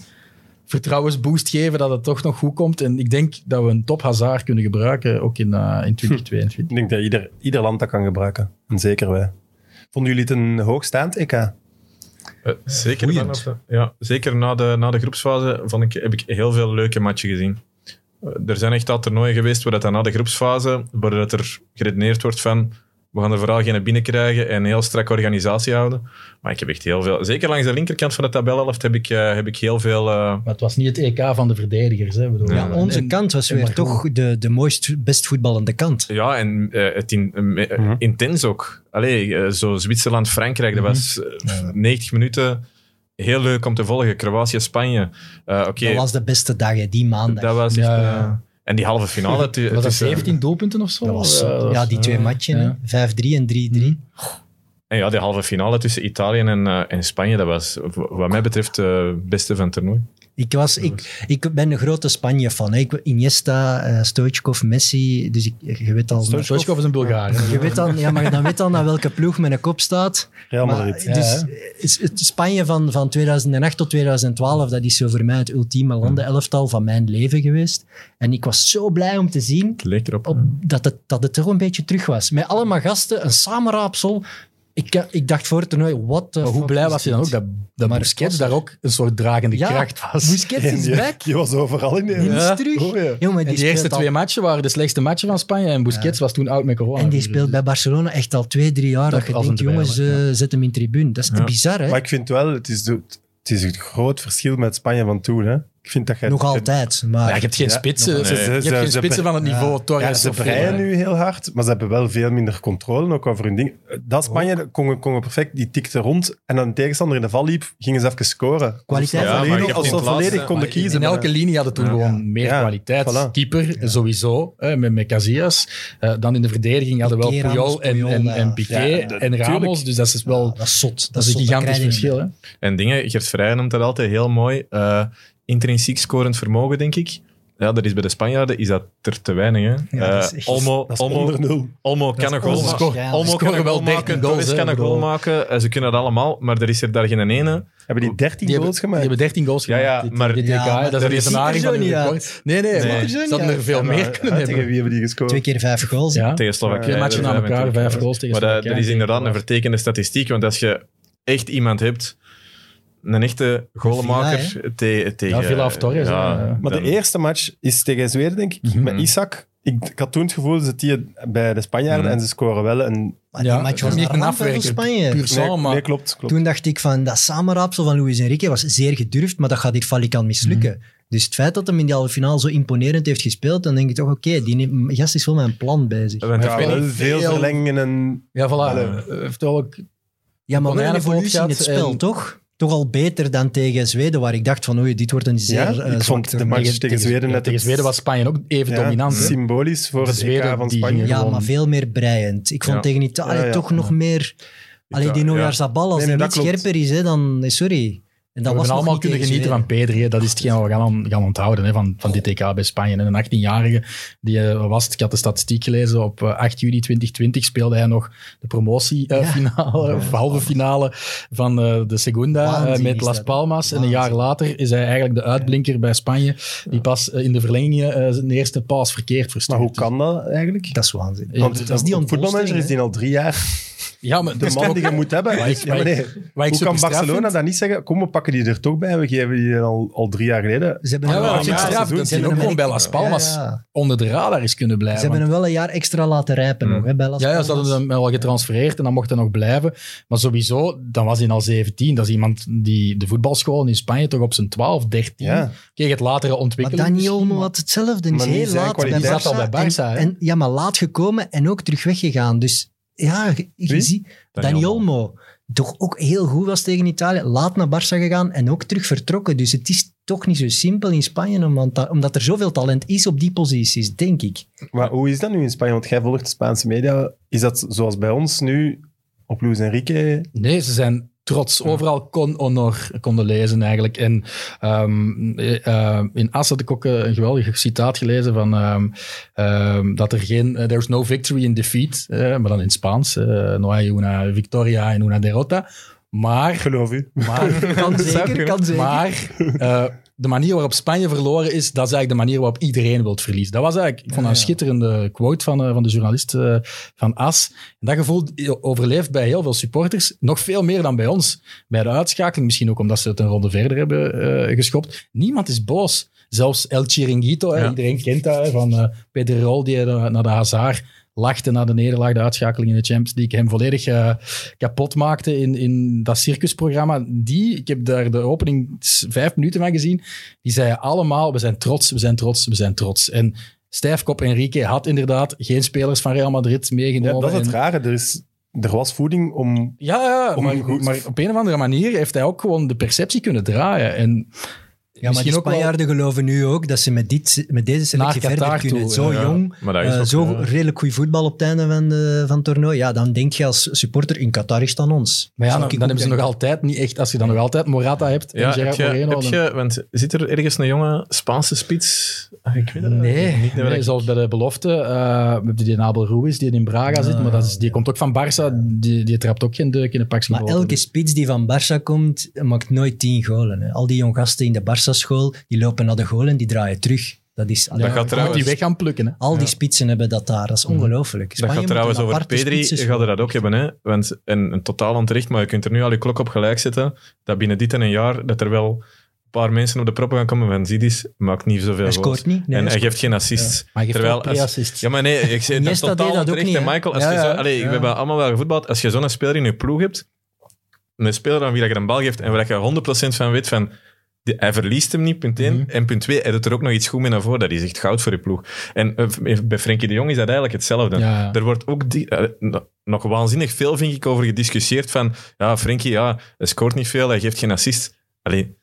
vertrouwensboost geven dat het toch nog goed komt. En ik denk dat we een top Hazard kunnen gebruiken, ook in, eh, in 2022. Ik denk dat ieder, ieder land dat kan gebruiken. En zeker wij. Vonden jullie het een hoogstaand EK? Eh, zeker, Boeiend. vanaf de- ja, zeker na de, na de groepsfase vond ik, heb ik heel veel leuke matchen gezien. Eh, Er zijn echt al toernooien geweest waar dat dan na de groepsfase, waar dat er geredeneerd wordt van We gaan er vooral geen binnenkrijgen en heel strak organisatie houden. Maar ik heb echt heel veel... Zeker langs de linkerkant van de tabelhelft heb ik, eh, heb ik heel veel... eh, Maar het was niet het EK van de verdedigers. Hè, Ik bedoel, Ja, Ja, onze en- kant was en weer maar toch de, de mooist, best voetballende kant. ja, en eh, het in, eh, me- eh, Mhm. intens ook. Allee, eh, zo Zwitserland-Frankrijk, dat was eh, 90 minuten... Heel leuk om te volgen. Kroatië-Spanje. Eh, Oké, Dat was de beste dag, hè, die maandag. dat was echt... Ja, eh, ja. en die halve finale... tu- was dat tussen- 17 doelpunten of zo? Dat was, eh, Ja, Mhm. dat was- ja, die twee matchen, hè. 5-3 en 3-3. En ja, die halve finale tussen Italië en, eh, en Spanje, dat was w- wat mij betreft eh, het beste van het toernooi. Ik, was, ik, ik ben een grote Spanje-fan. hè. Ik- Iniesta, eh Stoichkov, Messi. Dus ik, je weet al... Stoichkov is een Bulgaar. hè. Je weet dan, ja, maar dan weet dan naar welke ploeg met een kop staat. Real Maar Madrid. Ja, dus, hè. eh, is het Spanje van, van 2008 tot 2012, dat is zo voor mij het ultieme landenelftal van mijn leven geweest. En ik was zo blij om te zien Het leek erop. op, dat, het, dat het toch een beetje terug was. Met allemaal gasten, een samenraapsel. Ik, eh, ik dacht voor het toernooi, wat Maar hoe blij was hij dan ook dat, dat Maar Busquets Busquets- daar ook een soort dragende Ja, kracht was? Busquets is [laughs] Die- back. Die was overal in de Die Ja. is terug. Hoor je? Jongen, En die die eerste speelt al- twee matchen waren de slechtste matchen van Spanje en Busquets was toen oud met corona. En die speelt bij Barcelona echt al twee, drie jaar. Dat Dat, je als een denkt, jongens, dweil, eh, zet hem in tribune. Dat is te Ja. bizar, hè? Maar ik vind wel, het is, de- het is een groot verschil met Spanje van toen. Hè? Ik vind dat jij- Nog altijd. Ja, Maar je hebt geen Ja. spitsen, Nee. je Ze- hebt ze- geen ze- spitsen van het niveau Oh, Ja, Torres ze of breien Federer. nu heel hard, maar ze hebben wel veel minder controle ook over hun ding. Dat Spanje kon, kon perfect, die tikte rond en dan de tegenstander in de val liep, gingen ze even scoren. Kwaliteit. Als ze Ja, maar je volledig, hebt als ze in het volledig laatste- konden maar in- kiezen. In elke linie hadden toen gewoon meer Ja, kwaliteit. voilà. Keeper sowieso, hè, met, met Casillas. Eh, dan in de verdejding hadden we wel Piqué, Puyol Ramos, en, Puyol, en, ja. en Piqué Ja, de- en Ramos. tuurlijk. Dus dat is wel dat is zot. Dat, dat is zot, een dat krijg gigantisch je niet verschil. Hè. En dingen, Gert Vrijen noemt dat altijd heel mooi. eh, intrinsiek scorend vermogen, denk ik. Ja, dat is bij de Spanjaarden is dat er te weinig. Hè? Ja, dat Eh, is echt- Olmo, Dat is Olmo, onder nul. Olmo kan is een goal onwaarschijnlijk. maken. Olmo kan Scoren een wel goal 13 maken. goals, Torres hè, kan een bedoel. goal maken. Eh, Ze kunnen dat allemaal, maar er is er daar geen ene. Hebben die 13 goals Die hebben, die gemaakt? hebben 13 goals Ja, gemaakt. ja, dit, maar- dit Ja, EK, maar dat dat is een ziet er redenaring zo van hun niet uit. record. Nee, nee, Nee. maar Ziet er zo ze niet hadden er uit. veel Ja, maar, meer ja, kunnen Tegen hebben. wie hebben die gescoord? Twee keer vijf goals. hè. Ja. Tegen Slowakije. Twee matchen dat na zijn we elkaar, eh, natuurlijk- vijf goals tegen Maar dat, dat Slowakije. is inderdaad een vertekende statistiek. Want als je echt iemand hebt, een echte goalmaker Villa, te- tegen... Ja, Villa of Torres, hè. Maar de dan- eerste match is tegen Zweden, denk ik, met Isaac. Ik, ik had toen het gevoel dat die bij de Spanjaarden Mhm. en ze scoren wel. En, Maar die Ja, match dat was is niet naar een ramp voor afwerker. Spanje. Puur nee, zal, maar nee, klopt. klopt. Toen dacht ik van dat samenraapsel van Luis Enrique was zeer gedurfd, maar dat gaat hier falikant mislukken. Dus het feit dat hem in die halve finale zo imponerend heeft gespeeld, dan denk ik toch, oké, die neemt- gast is wel met een plan bezig. Want ja, dat- wel niet veel veel- verlengingen en Ja, voilà. Allee. Eh, heeft wel ook Ja, maar wel een konijnen evolutie in voorop het gehad spel, en- toch? Toch al beter dan tegen Zweden, waar ik dacht van, oei, dit wordt een zeer Ja, eh, ik zwak vond de toernooi. match tegen, Zweden ja, net tegen het- Zweden was Spanje ook even ja, dominant. hè. Symbolisch voor De het Zweden EK van die Spanje. gingen- Ja, gewoon- maar veel meer breiend. Ik vond Ja. tegen Italië Ja, ja. toch nog meer... Alleen die ja. Nooiaarsabal, Nee, als die nee, niet dat klopt. scherper is, hè, dan... eh, Sorry. En dat we was hebben nog allemaal niet kunnen tegen genieten van Pedri. hè. Dat is hetgeen wat we gaan, gaan onthouden hè, van, van dit EK bij Spanje. En een 18-jarige, die eh, was, het, ik had de statistiek gelezen, op eh, 8 juni 2020 speelde hij nog de promotiefinale, eh, of halve finale van eh, de Segunda eh, Waanzin met is Las dat. Palmas. En een jaar later is hij eigenlijk de uitblinker bij Spanje, die pas eh, in de verlenging eh, zijn eerste paas verkeerd Maar verstuurt. hoe kan dat eigenlijk? Zweden. Dat is waanzin. Ja, Want dat is die op ontbolstering, voetbalmanager is hè? die al drie jaar Ja, maar dus de man die je moet hebben. Waar ik- Ja, maar waar ik- nee. waar ik Hoe kan superstraf vind- Barcelona dat niet zeggen? Kom, we pakken die er toch bij. We geven die al, al drie jaar geleden. Ze hebben Ja, hem wel, wel maar een ja, jaar- straf, ze hebben dat hij ook hem gewoon bij echt- Las Palmas Ja, ja. onder de radar is kunnen blijven. Ze hebben want- hem wel een jaar extra laten rijpen nog, hè, bij Las Ja, ja, Palmas. ze hadden hem al getransfereerd en dan mocht hij nog blijven. Maar sowieso, dan was hij al 17. Dat is iemand die de voetbalschool in Spanje toch op zijn 12, 13 Ja. kreeg het latere Maar ontwikkeling. Daniel misschien, Olmo had hetzelfde. Die is Maar niet heel zijn laat bij kwaliteit. Die zat al Barca bij Barca, en- hè? en- Ja, maar laat gekomen en ook terug weggegaan. Dus ja, je- je Wie? ziet... Dani Daniel Olmo. Olmo. Toch ook heel goed was tegen Italië. Laat naar Barça gegaan en ook terug vertrokken. Dus het is toch niet zo simpel in Spanje, omdat, omdat er zoveel talent is op die posities, denk ik. Maar hoe is dat nu in Spanje? Want jij volgt de Spaanse media. Is dat zoals bij ons nu op Luis Enrique? maar- Nee, ze zijn trots. Overal kon honor konden lezen eigenlijk. En ehm, eh, eh, in As had ik ook eh, een geweldig citaat gelezen van ehm, ehm, dat er geen... eh, there's no victory in defeat. eh, maar dan in het Spaans. eh, no hay una victoria en una derrota. Maar... Geloof u. maar [laughs] [laughs] Kan zeker, kan zeker. Maar eh, de manier waarop Spanje verloren is, dat is eigenlijk de manier waarop iedereen wil verliezen. Dat was eigenlijk, ik vond dat een schitterende quote van, eh, van de journalist eh, van AS. En dat gevoel overleeft bij heel veel supporters, nog veel meer dan bij ons. Bij de uitschakeling, misschien ook omdat ze het een ronde verder hebben eh, geschopt. Niemand is boos. Zelfs El Chiringuito, hè, Ja. iedereen kent dat, hè, van eh Pedrerol die eh, naar de Hazard lachte na de nederlaag, de uitschakeling in de Champions League, hem volledig eh, kapot maakte in, in dat circusprogramma. Die, ik heb daar de opening s- vijf minuten van gezien, die zeiden allemaal, we zijn trots, we zijn trots, we zijn trots. En Stijfkop Enrique had inderdaad geen spelers van Real Madrid Ja, meegenomen. dat is het En- rare. Er, is, er was voeding om... ja, ja Om maar, hem goed- maar op een of andere manier heeft hij ook gewoon de perceptie kunnen draaien. En Ja, maar die misschien ook wel... Spanjaarden geloven nu ook dat ze met, dit, met deze selectie Naar verder Qatar kunnen. toe, zo ja. jong, Maar dat is eh, ook, zo ja. redelijk goed voetbal op het einde van, de, van het toernooi. Ja, dan denk je als supporter in Qatar is het aan ons. Maar ja, Zou dan, ik ook dan hebben ze nog denken. altijd niet echt... Als je dan nog altijd Morata hebt en Ja, heb Gerard je, Moreno... heb dan- je, want zit er ergens een jonge Spaanse spits? Ah, Ik weet het Nee, niet. nee, waar ik- zoals bij de belofte. eh, we hebben die Nabel Ruiz die in Braga zit, maar dat is, die komt ook van Barça. Die, die trapt ook geen deuk in de Dus pakje. Maar elke spits die van Barça komt, maakt nooit tien golen. Hè. Al die jong gasten in de Barça-school, die lopen naar de goal en die draaien terug. Dat is... Dat gaat moet die trouwens- weg gaan plukken. Hè. Al die spitsen hebben dat daar. Dat is ongelooflijk. Mhm. Dat gaat trouwens over Pedri, gaat er dat ook hebben. Hè? Want een, een totaal onterecht, maar je kunt er nu al je klok op gelijk zetten dat binnen dit en een jaar dat er wel een paar mensen op de proppen gaan komen van Zidis, maakt niet zoveel Hij goals. scoort niet. Nee, en hij hij geeft geen assists. Maar je geeft Terwijl wel als- pre-assist. Ja, maar nee, ik zei dat is Iniesta deed totaal dat ook onterecht. niet, en hè? Michael, als Ja, je zo, ja, allee, ja. we hebben allemaal wel gevoetbald. Als je zo'n speler in je ploeg hebt, een speler aan wie dat je een bal geeft en waar je 100% van weet van... die- hij verliest hem niet, punt 1. En punt 2, hij doet er ook nog iets goed mee naar voren. Dat is echt goud voor je ploeg. En eh, bij Frenkie de Jong is dat eigenlijk hetzelfde. Ja, ja. Er wordt ook die, eh, no- nog waanzinnig veel, vind ik, over gediscussieerd van... Ja, Frenkie, ja, hij scoort niet veel, hij geeft geen assist. Allee,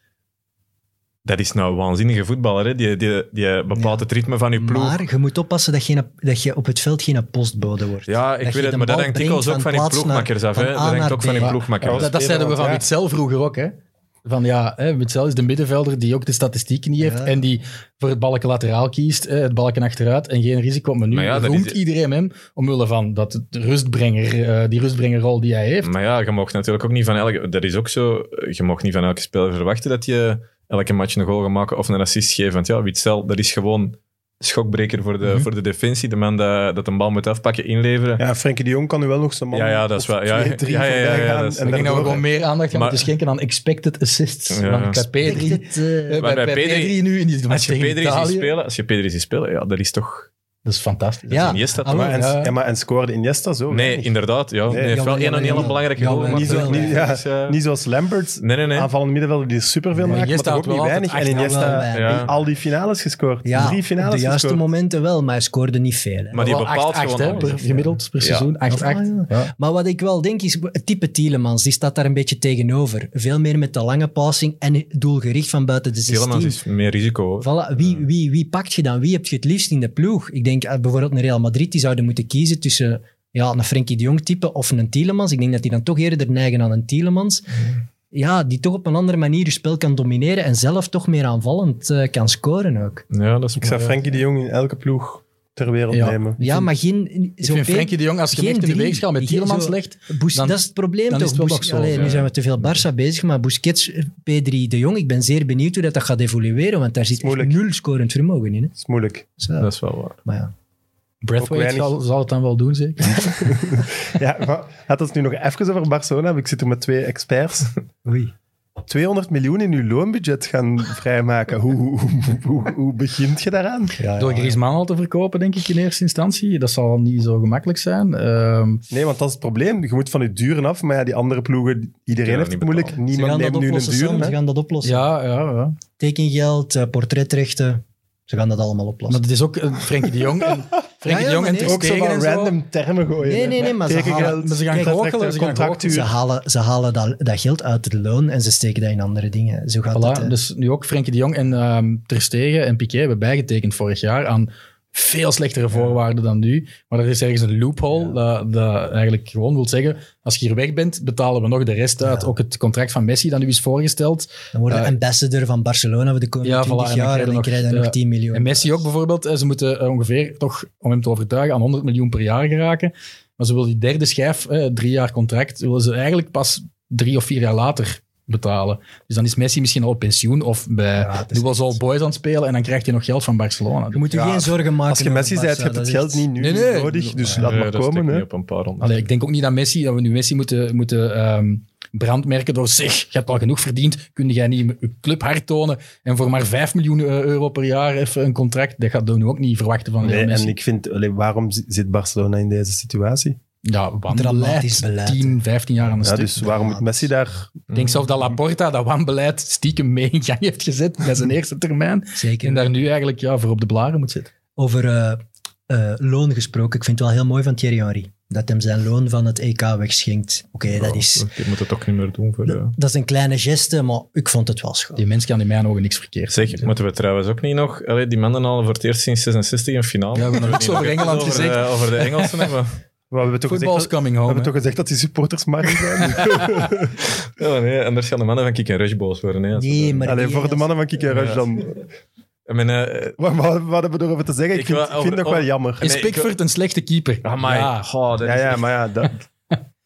dat is nou een waanzinnige voetballer, hè? Die, die, die bepaalt het ritme van je ploeg. Maar je moet oppassen dat, geen, dat je op het veld geen postbode wordt. Ja, ik Dat je weet het, de maar dat bal hangt dikwijls ook brengt van van die plaats ploegmakers naar- af. Hè? van Dat A hangt naar ook van die B. ploegmakers dat, af. dat zeiden we van Ja. Witzel vroeger ook. Hè. Van ja, hè, Witzel is de middenvelder die ook de statistieken niet heeft Ja. en die voor het balken lateraal kiest, hè, het balken achteruit en geen risico. Maar nu Maar ja, dat roemt is- iedereen hem omwille van dat het rustbrenger, eh, die rustbrengerrol die hij heeft. Maar ja, je mag natuurlijk ook niet van elke... Dat is ook zo. eh, Je mag niet van elke speler verwachten dat je elke match een goal gaat maken of een assist geeft. Want ja, Witzel, dat is gewoon schokbreker voor de, Mhm. voor de defensie. De man dat, dat een bal moet afpakken, inleveren. Ja, Frenkie de Jong kan nu wel nog zijn man... Ja, ja, dat is of wel- ja, twee, drie ja, ja, ja, ja, voorbij gaan dat is- en ik denk dat we daardoor- gewoon meer aandacht gaan Maar- moeten schenken aan expected assists. Ja. Want bij Ik Pedri... denk dat, eh, Eh, Maar bij, bij bij Pedri- Pedri nu in die match Als je tegen Pedri ziet Italië. spelen, als je Pedri ziet spelen, ja, dat is toch... Dat is fantastisch. Ja. Iniesta toch? Ah, Maar en, Ja. ja, maar en scoorde Iniesta zo? Oh, Nee, weinig. inderdaad. Ja. Nee, hij heeft jawel, wel één jawel, een hele jawel. belangrijke Jawel, goal. gemaakt, niet, zo, wel, hè. niet, ja, Dus, eh, niet zoals Lambert, Nee, nee, nee. aanvallend middenvelder die superveel maakt, maar Iniesta toch ook had wel niet weinig. altijd En acht, nou, wel Iniesta weinig. Ja. al die finales gescoord. ja, Drie op de finales juiste gescoord. momenten wel, maar hij scoorde niet veel. hè. Maar die Wel bepaalt 8-8, gewoon Oh, hè, alles. per- gemiddeld per seizoen. 8-8. Ah, ja. Ja. Maar wat ik wel denk is, het type Tielemans, die staat daar een beetje tegenover. Veel meer met de lange passing en doelgericht van buiten de 16. Tielemans is meer risico. hoor. Voilà, wie, wie, wie pakt je dan? Wie heb je het liefst in de ploeg? Ik denk eh, bijvoorbeeld een Real Madrid, die zouden moeten kiezen tussen ja, een Frenkie de Jong type of een Tielemans. Ik denk dat die dan toch eerder neigen aan een Tielemans. Ja, die toch op een andere manier je spel kan domineren en zelf toch meer aanvallend eh, kan scoren ook. Ja, dat is Ik zou Frenkie de Jong in elke ploeg ter wereld Ja. nemen. Ja, maar geen... Ik vind Frenkie de Jong, als je hem geen echt in de drie. weegschaal met Geen Tielemans zo- legt... Bus- Dan- dat is het probleem dan toch? is het wel Bus- nog zo, Allee, ja. Nu zijn we te veel Barça bezig, maar Busquets, Pedri, De Jong, ik ben zeer benieuwd hoe dat, dat gaat evolueren, want daar zit echt Moeilijk. nul scorend vermogen in. Hè? Dat is moeilijk. Zo, Dat is wel waar. maar ja. Ook Breathwaite weinig. zal, zal het dan wel doen, zeker? Ja, [laughs] maar laat ons nu nog even over Barcelona hebben. Ik zit er met twee experts. [laughs] Oei. 200 miljoen in uw loonbudget gaan vrijmaken. Hoe, hoe, hoe, hoe, hoe begint je daaraan? Door Griezmann al te verkopen, denk ik, in eerste instantie. Dat zal niet zo gemakkelijk zijn. Ehm, Nee, want dat is het probleem. Je moet van je duren af. Maar ja, die andere ploegen, iedereen Ja, heeft niet het moeilijk. betaald. Ze Niemand gaan dat neemt nu een oplossen, Sam, duur. Ze hè. gaan dat oplossen. ja, ja, ja. Tekengeld, eh, portretrechten, ze gaan dat allemaal Maar oplossen. het is ook eh, Frenkie de Jong. En, Frenkie Ja, ja, de Jong maar en nee. Ook Ter zo Stegen van en zo. random termen gooien. Nee, nee, nee, maar ze Tekengeld, halen- maar ze gaan kijk, goochelen, contract- ze gaan contractuur. Ze halen, ze halen dat, dat geld uit het loon en ze steken dat in andere dingen. Zo gaat dat. eh, Voilà, hè. dus nu ook Frenkie de Jong en ehm Ter Stegen en Piqué hebben bijgetekend vorig jaar aan veel slechtere voorwaarden dan nu. Maar er is ergens een loophole dat, dat eigenlijk gewoon wil zeggen, als je hier weg bent, betalen we nog de rest uit. Ook het contract van Messi dat nu is voorgesteld. Dan worden eh, ambassador van Barcelona voor de komende Ja, voilà, 20 en dan jaar krijg je en dan nog, krijg je nog eh, 10 miljoen. En Messi ook bijvoorbeeld, eh, ze moeten eh, ongeveer toch, om hem te overtuigen, aan 100 miljoen per jaar geraken. Maar ze willen die derde schijf, eh, drie jaar contract, willen ze eigenlijk pas drie of vier jaar later betalen. Dus dan is Messi misschien al op pensioen of bij Ja, het is nu was al boys aan het spelen en dan krijgt hij nog geld van Barcelona. Je moet je Ja, geen zorgen maken. Als je over Messi Barca, zei, je hebt dat het is- geld niet nu Nee, nee. nodig, dus laat Ja, maar dat komen. stikt hè. niet op een paar ronden. Allee, ik denk ook niet dat, Messi, dat we nu Messi moeten, moeten ehm, brandmerken door zeg, je hebt al genoeg verdiend, kun jij niet je club hard tonen en voor maar 5 miljoen eh, euro per jaar even een contract, dat gaat Doe nu ook niet verwachten van Nee, Lionel Messi. en ik vind, allee, waarom zi- zit Barcelona in deze situatie? Ja, Dramatisch wanbeleid, beleid. 10, 15 jaar aan een Ja, stuk. dus eh, waarom moet Messi daar... Ik denk zelf dat Laporta dat wanbeleid stiekem mee in gang heeft gezet bij zijn eerste termijn. Zeker. En daar nu eigenlijk ja, voor op de blaren moet zitten. Over eh, eh, loon gesproken. Ik vind het wel heel mooi van Thierry Henry. Dat hem zijn loon van het EK wegschenkt. Oké, dat, is, Je moet het toch niet meer doen. Voor, eh. dat is een kleine geste, maar ik vond het wel schoon. Die mens kan in mijn ogen niks verkeerd Zeg, moeten we trouwens ook niet nog... Allee, die mannen halen voor het eerst sinds 66 een Ja, finale. we hebben Moeten het niet ook over nog even Engeland over, gezegd. eh, over de Engelsen hebben. We hebben toch gezegd, Football's dat, we coming home. hebben hè. toch gezegd dat die supporters maar zijn? [laughs] Ja, nee, anders gaan de mannen van Kik en Rush boos worden. Hè, als we Nee, dat- maar Alleen die- voor de mannen van Kiki en Rush Ja. dan. Ik ben, eh, Wat, wat, wat hebben we erover te zeggen? Ik, Ik vind, wil ik vind over- dat wel over- jammer. Is Nee, ik- Pickford een slechte keeper? amai. Ja. Goh, dat Ja, is ja, echt- maar ja, dat,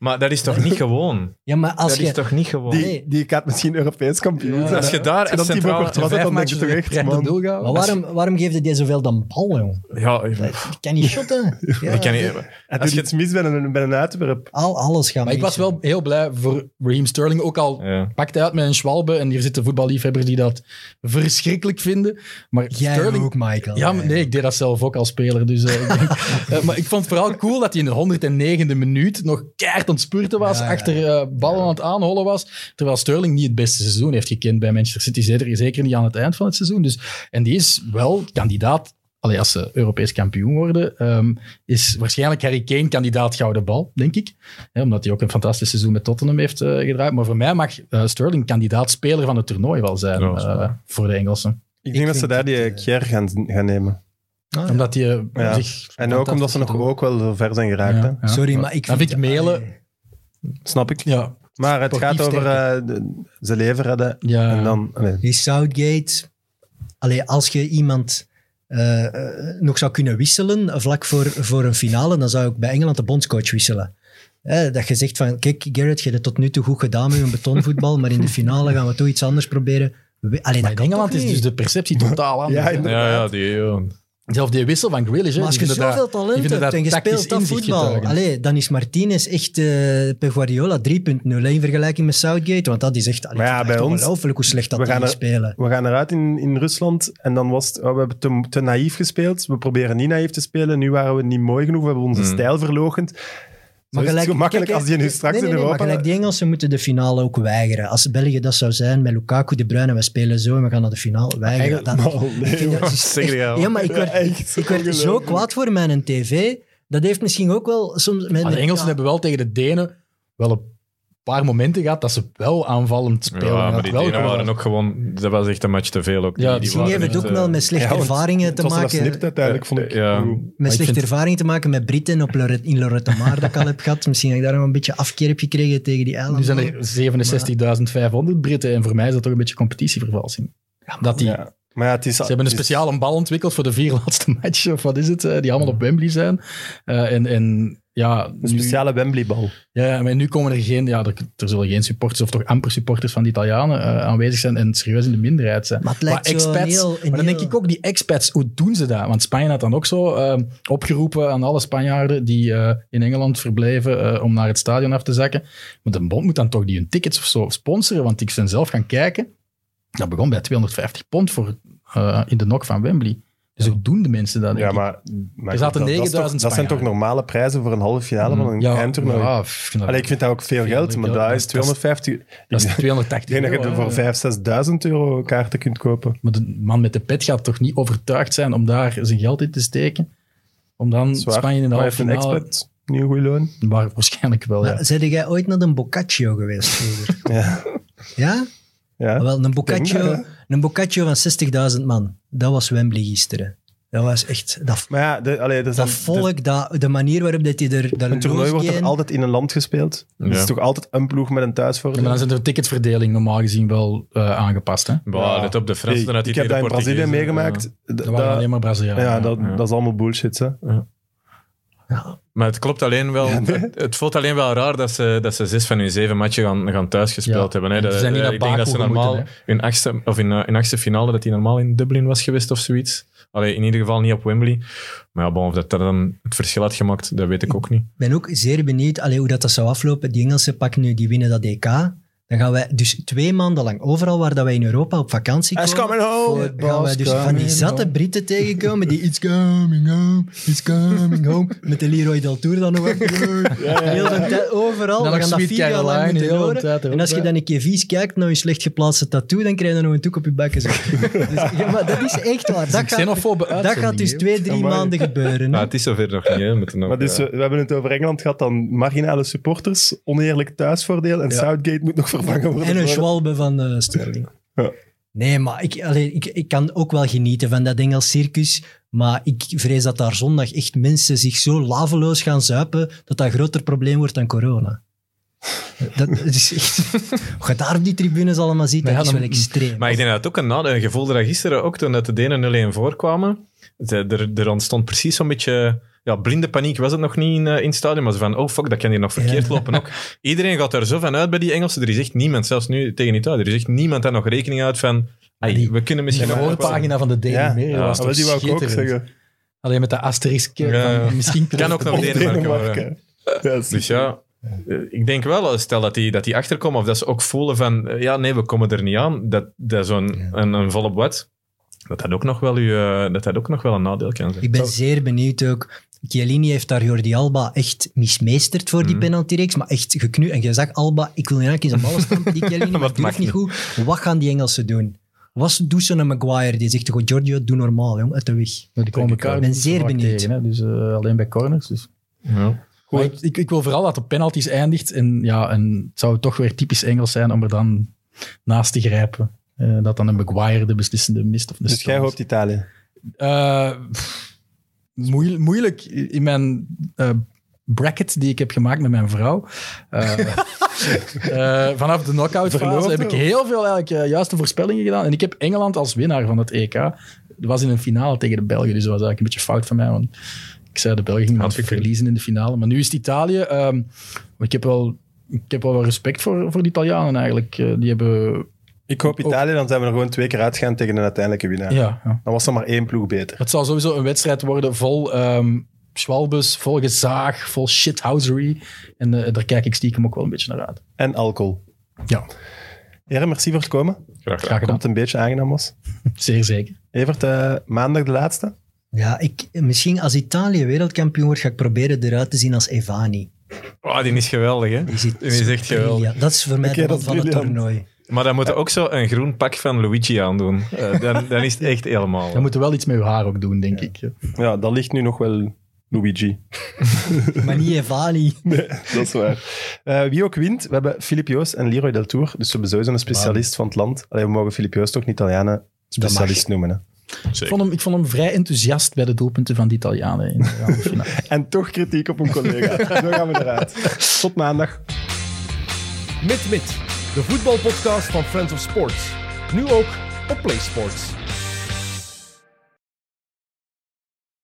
Maar dat is toch niet gewoon? Ja, maar als dat je... is toch niet gewoon? die, die gaat misschien Europees kampioen zijn. Als je daar Als je als dan die centraal... bocht- was het dan denk je toch echt, man? Maar waarom, waarom geefde die zoveel dan bal, jong? Ja, ik- Ik kan niet [laughs] shotten. Ja. ik kan niet... Hij Als doet je- iets mis bij een, bij een uitwerp. Al, alles gaat Maar ik mis, was wel heel blij voor Raheem Sterling. Ook al Ja. pakt hij uit met een Schwalbe. En hier zitten voetballiefhebbers die dat verschrikkelijk vinden. Maar Jij Sterling... ook, Michael. Ja, maar nee, ik deed dat zelf ook als speler. Dus, eh, ik denk- [laughs] Eh, maar ik vond het vooral cool dat hij in de 109e minuut nog keihard aan het spurten was, Ja, ja. achter eh, ballen aan het aanhollen was. Terwijl Sterling niet het beste seizoen heeft gekend bij Manchester City. Zeker, zeker niet aan het eind van het seizoen. Dus, en die is wel kandidaat, allee, als ze Europees kampioen worden, ehm, is waarschijnlijk Harry Kane kandidaat gouden bal, denk ik. Hè, omdat hij ook een fantastisch seizoen met Tottenham heeft eh, gedraaid. Maar voor mij mag eh, Sterling kandidaat speler van het toernooi wel zijn Ja, dat is eh, waar. voor de Engelsen. Ik denk dat ze vind daar dat, die eh, Kier gaan, gaan nemen. Ah, Omdat die eh, Ja. zich... En ook omdat ze nog ook wel zo ver zijn geraakt. Ja, hè. ja. Sorry, maar ik Dan vind ik mailen... Snap ik. Ja, Maar het sportief gaat over sterker. eh, de- ze leven redden. ja. En dan, nee. Die Southgate. Allee, als je iemand eh, eh, nog zou kunnen wisselen vlak voor, voor een finale, dan zou ik bij Engeland de bondscoach wisselen. Eh, dat je zegt van, kijk Garrett, je hebt het tot nu toe goed gedaan met je betonvoetbal, maar in de finale gaan we toch iets anders proberen. We- Allee, Maar dat in kan Engeland toch is niet? dus de perceptie totaal [laughs] anders. Ja, inderdaad. Ja, ja, die... ja. Zelf die wissel van Grealish. hè, Maar als die je vinden zoveel dat- die talent vinden hebt en je tactisch speelt dat inzicht voetbal, getuigen. allee, dan is Martinez echt eh Pep Guardiola 3.0 in vergelijking met Southgate, want dat is echt, allee, Maar ja, het is echt bij ons, ongelooflijk hoe slecht we dat die gaan er- spelen. We gaan eruit in, in Rusland en dan was het, oh, we hebben te, te naïef gespeeld. We proberen niet naïef te spelen. Nu waren we niet mooi genoeg. We hebben onze Mm. stijl verlogend. Maar gelijk, zo makkelijk kijk, als die nu straks nee, nee, in nee, Europa... maar gelijk, die Engelsen moeten de finale ook weigeren. Als België dat zou zijn met Lukaku, De Bruyne, we spelen zo en we gaan naar de finale weigeren. Dat, Oh, nee, ik vind dat- dus- wat zeg je nou? ja, maar ik werd, Echt, ik werd zo ongelooflijk. kwaad voor mijn tv. Dat heeft misschien ook wel soms... Met, Maar de Engelsen hebben wel tegen de Denen wel een paar momenten gehad dat ze wel aanvallend spelen. Ja, maar Dat die wel Denen gewoon- waren ook gewoon... Dat was echt een match te veel ook. Die- Ja, die misschien Misschien waren heeft het echt, ook eh, wel met slechte ja, want ervaringen te Het was wel maken... snipt uiteindelijk, vond ik. Ja. Oeh. Met ik slechte vind- ervaringen te maken met Britten op Lorette, in Lorette Mar dat ik al heb gehad. Misschien dat ik daar nog een beetje afkeer heb gekregen tegen die eilanden. Nu zijn er 67.500 Britten en voor mij is dat toch een beetje competitievervalsing. Dat die, Ja. Maar ja, het is, Ze hebben een speciale bal ontwikkeld voor de vier [laughs] laatste matchen, of wat is het, eh, die allemaal op Wembley zijn. Eh, en, en ja, Een nu- speciale Wembley-bal. Ja, maar nu komen er geen, ja, er, er zullen geen supporters of toch amper supporters van de Italianen eh, aanwezig zijn en serieus in de minderheid zijn. Maar het lijkt zo een expats, heel- een maar dan denk heel- ik ook, die expats, hoe doen ze dat? Want Spanje had dan ook zo eh, opgeroepen aan alle Spanjaarden die eh, in Engeland verbleven eh, om naar het stadion af te zakken. Maar de bond moet dan toch die hun tickets of zo sponsoren, want ik ben zelf gaan kijken. Dat begon bij 250 pond voor, eh, in de nok van Wembley. Dus hoe doen de mensen dat? denk Ja, ik? maar, maar Er zaten dat- dat, is toch- 9000 dat zijn toch Spanjaarden. Hmm. normale prijzen voor een halve finale van een ja, eindtoernooi? Mm. ja, pff, ik vind dat- Allee, ik vind dat ook veel Veel geld, maar geld, daar dat is is- 250... dat [laughs] is ik 280 denk dat je euro, er hè. voor 5.000, 6.000 euro kaarten kunt kopen. Maar de man met de pet gaat toch niet overtuigd zijn om daar zijn geld in te steken? Om dan Zwaar. Spanje in de Maar halve heeft een finale... expert niet een goede loon? [laughs] Maar waarschijnlijk wel, ja. Maar Zijn jij ooit naar een Boccaccio geweest [laughs] vroeger? Ja. ja? ja. Wel, een boccaccio, dat, hè. een boccaccio van 60.000 man. Dat was Wembley gisteren. Dat was echt... Dat, Maar ja, de, allee, dus er zijn- dat volk, dat, de manier waarop dat die er... Dat Een toernooi wordt toch losgeen- altijd in een land gespeeld? Het is Ja. toch altijd een ploeg met een Maar dan thuisvoordeel? zijn de ticketsverdeling normaal gezien wel eh, aangepast, hè. Bah, Ja. let op de Fransen Ik, uit die ik heb dat tegen in de Brazilië Portugezen. eh, meegemaakt. Ja. D- Er waren dat- alleen maar Brazilianen. ja, dat, ja. dat is allemaal bullshit. Hè. Maar het klopt alleen wel. het, het voelt alleen wel raar dat ze, dat ze zes van hun zeven matchen gaan, gaan thuis gespeeld Ja. hebben. Hè. Ze zijn niet eh, naar ik denk dat ze Baku normaal moeten, hun achtste, of in, eh, hun achtste finale dat die normaal in Dublin was geweest of zoiets. Allee, in ieder geval niet op Wembley. Maar ja, bon, of dat, dat dan het verschil had gemaakt, dat weet ik ook niet. ben ook zeer benieuwd allee, hoe dat, dat zou aflopen. Die Engelsen pakken nu, die winnen dat EK. Dan gaan wij dus twee maanden lang overal waar dat wij in Europa op vakantie Hij is komen, coming home. dan gaan wij dus van die zatte Britten tegenkomen [laughs] die It's coming home, it's coming home. Met de Leroy Del Tour dan nog [laughs] op. Heel de tijd, overal. Dan we nog gaan dat Sweet vier jaar lang Caroline, moeten heel de tijd horen. erop, En als je hè. dan een keer vies kijkt naar je slecht geplaatste tattoo, dan krijg je nog een toek op je bekken. zo. [laughs] Dus, ja, maar dat is echt waar. Dat gaat, Xenofobe dat gaat dus twee, drie Amai. maanden gebeuren. hè. Maar het is zover nog eh, niet, hè. Met een, Maar dus, we, we hebben het over Engeland gehad, dan marginale supporters, oneerlijk thuisvoordeel en Southgate moet nog vervangen worden. En [laughs] een Voor- schwalbe van eh, Sterling. Ja. Nee, maar ik, allee, ik, ik kan ook wel genieten van dat Engels circus. Maar ik vrees dat daar zondag echt mensen zich zo laveloos gaan zuipen dat dat een groter probleem wordt dan corona. Dat, dat is echt... [laughs] Wat je daar op die tribunes allemaal ziet, Maar dat ja, is wel dan- extreem. Maar ik denk dat het ook een nadeel. Je voelde dat gisteren ook toen dat de Denen 0-1 voorkwamen. Ze- Er, er ontstond precies zo'n beetje. Ja, blinde paniek was het nog niet in, eh, in het stadion. Maar ze van, oh fuck, dat kan hier nog verkeerd lopen [laughs] ook. Iedereen gaat daar zo van uit bij die Engelsen. Er is echt niemand, zelfs nu tegen Italië, er is echt niemand daar nog rekening uit van. Ah, ai, Die- we kunnen De misschien nog wel- voorpagina van de Daily Ja, Mail ja. was Ah, toch wel, die wou ik ook schitterend. zeggen. Alleen met de asterisk. Ja. van, misschien Kan ook nog Denemarken worden. Denemarken. Ja, Dus ja, eh, ik denk wel, stel dat die, dat die achterkomen of dat ze ook voelen van, eh, ja, nee, we komen er niet aan, dat, dat zo'n een, een volle wet, dat dat, ook nog wel uw, eh, dat dat ook nog wel een nadeel kan zijn. Ik ben zeer benieuwd ook. Chiellini heeft daar Jordi Alba echt mismeesterd voor die Mhm. penaltyreeks, maar echt geknu. En je zag Alba, ik wil niet eigenlijk in zijn ballen stampen, [laughs] die Chiellini, maar Maar het het durft niet goed. Wat gaan die Engelsen doen? Wat doet zo'n Maguire? Die zegt gewoon, Giorgio, doe normaal, jong, uit de weg. Die komen elkaar Ik ben niet zo zeer vaak benieuwd. tegen, hè. Dus eh, alleen bij corners. Dus. Ja. Maar ik, ik, ik wil vooral dat het op penalties eindigt. En, ja, en het zou toch weer typisch Engels zijn om er dan naast te grijpen. Eh, dat dan een Maguire de beslissende mist of de Dus jij stoot. hoopt Italië. Eh, pff, moeil- moeilijk. In mijn eh, bracket die ik heb gemaakt met mijn vrouw. eh, eh, vanaf de knockout Verloofde? fase heb ik heel veel eigenlijk, eh, juiste voorspellingen gedaan. En ik heb Engeland als winnaar van het EK. Dat was in een finale tegen de Belgen. Dus dat was eigenlijk een beetje fout van mij. Want ik zei de Belgen Had gaan gekund. verliezen in de finale. Maar nu is het Italië. ehm, maar ik heb wel, ik heb wel wat respect voor, voor de Italianen eigenlijk. Eh, die hebben... Ik hoop Italië, dan zijn we er gewoon twee keer uitgaan tegen een uiteindelijke winnaar. Ja, ja. Dan was er maar één ploeg beter. Het zal sowieso een wedstrijd worden vol ehm schwalbes, vol gezaag, vol shithousery. En eh, daar kijk ik stiekem ook wel een beetje naar uit. En alcohol. Ja, Heren, merci voor het komen. Ik Graag graag hoop gedaan. dat het een beetje aangenaam was. Zeer zeker. Evert, eh, maandag de laatste. Ja, ik, misschien als Italië wereldkampioen wordt, ga ik proberen eruit te zien als Evani. Oh, die is geweldig, hè? Die, zit Die is echt geweldig. Ja, dat is voor mij Oké, de dat man is van het briljant. toernooi. Maar dan moet je ook zo een groen pak van Luigi aandoen. Eh, dan, dan is het echt helemaal... Dan moeten we wel iets met uw haar ook doen, denk ik. Ja, dat ligt nu nog wel [laughs] Luigi. Maar niet Evani. Dat is waar. Eh, wie ook wint, we hebben Filip Joos en Leroy Del Tour. Dus we hebben sowieso een specialist van het land. Alleen we mogen Filip Joos toch niet Italianen specialist noemen. Hè? Ik vond, hem, ik vond hem vrij enthousiast bij de doelpunten van de Italianen in de halve finale. En toch kritiek op een collega. [laughs] Zo gaan we eruit. Tot maandag. Mit Mit, de voetbalpodcast van Friends of Sports. Nu ook op PlaySports.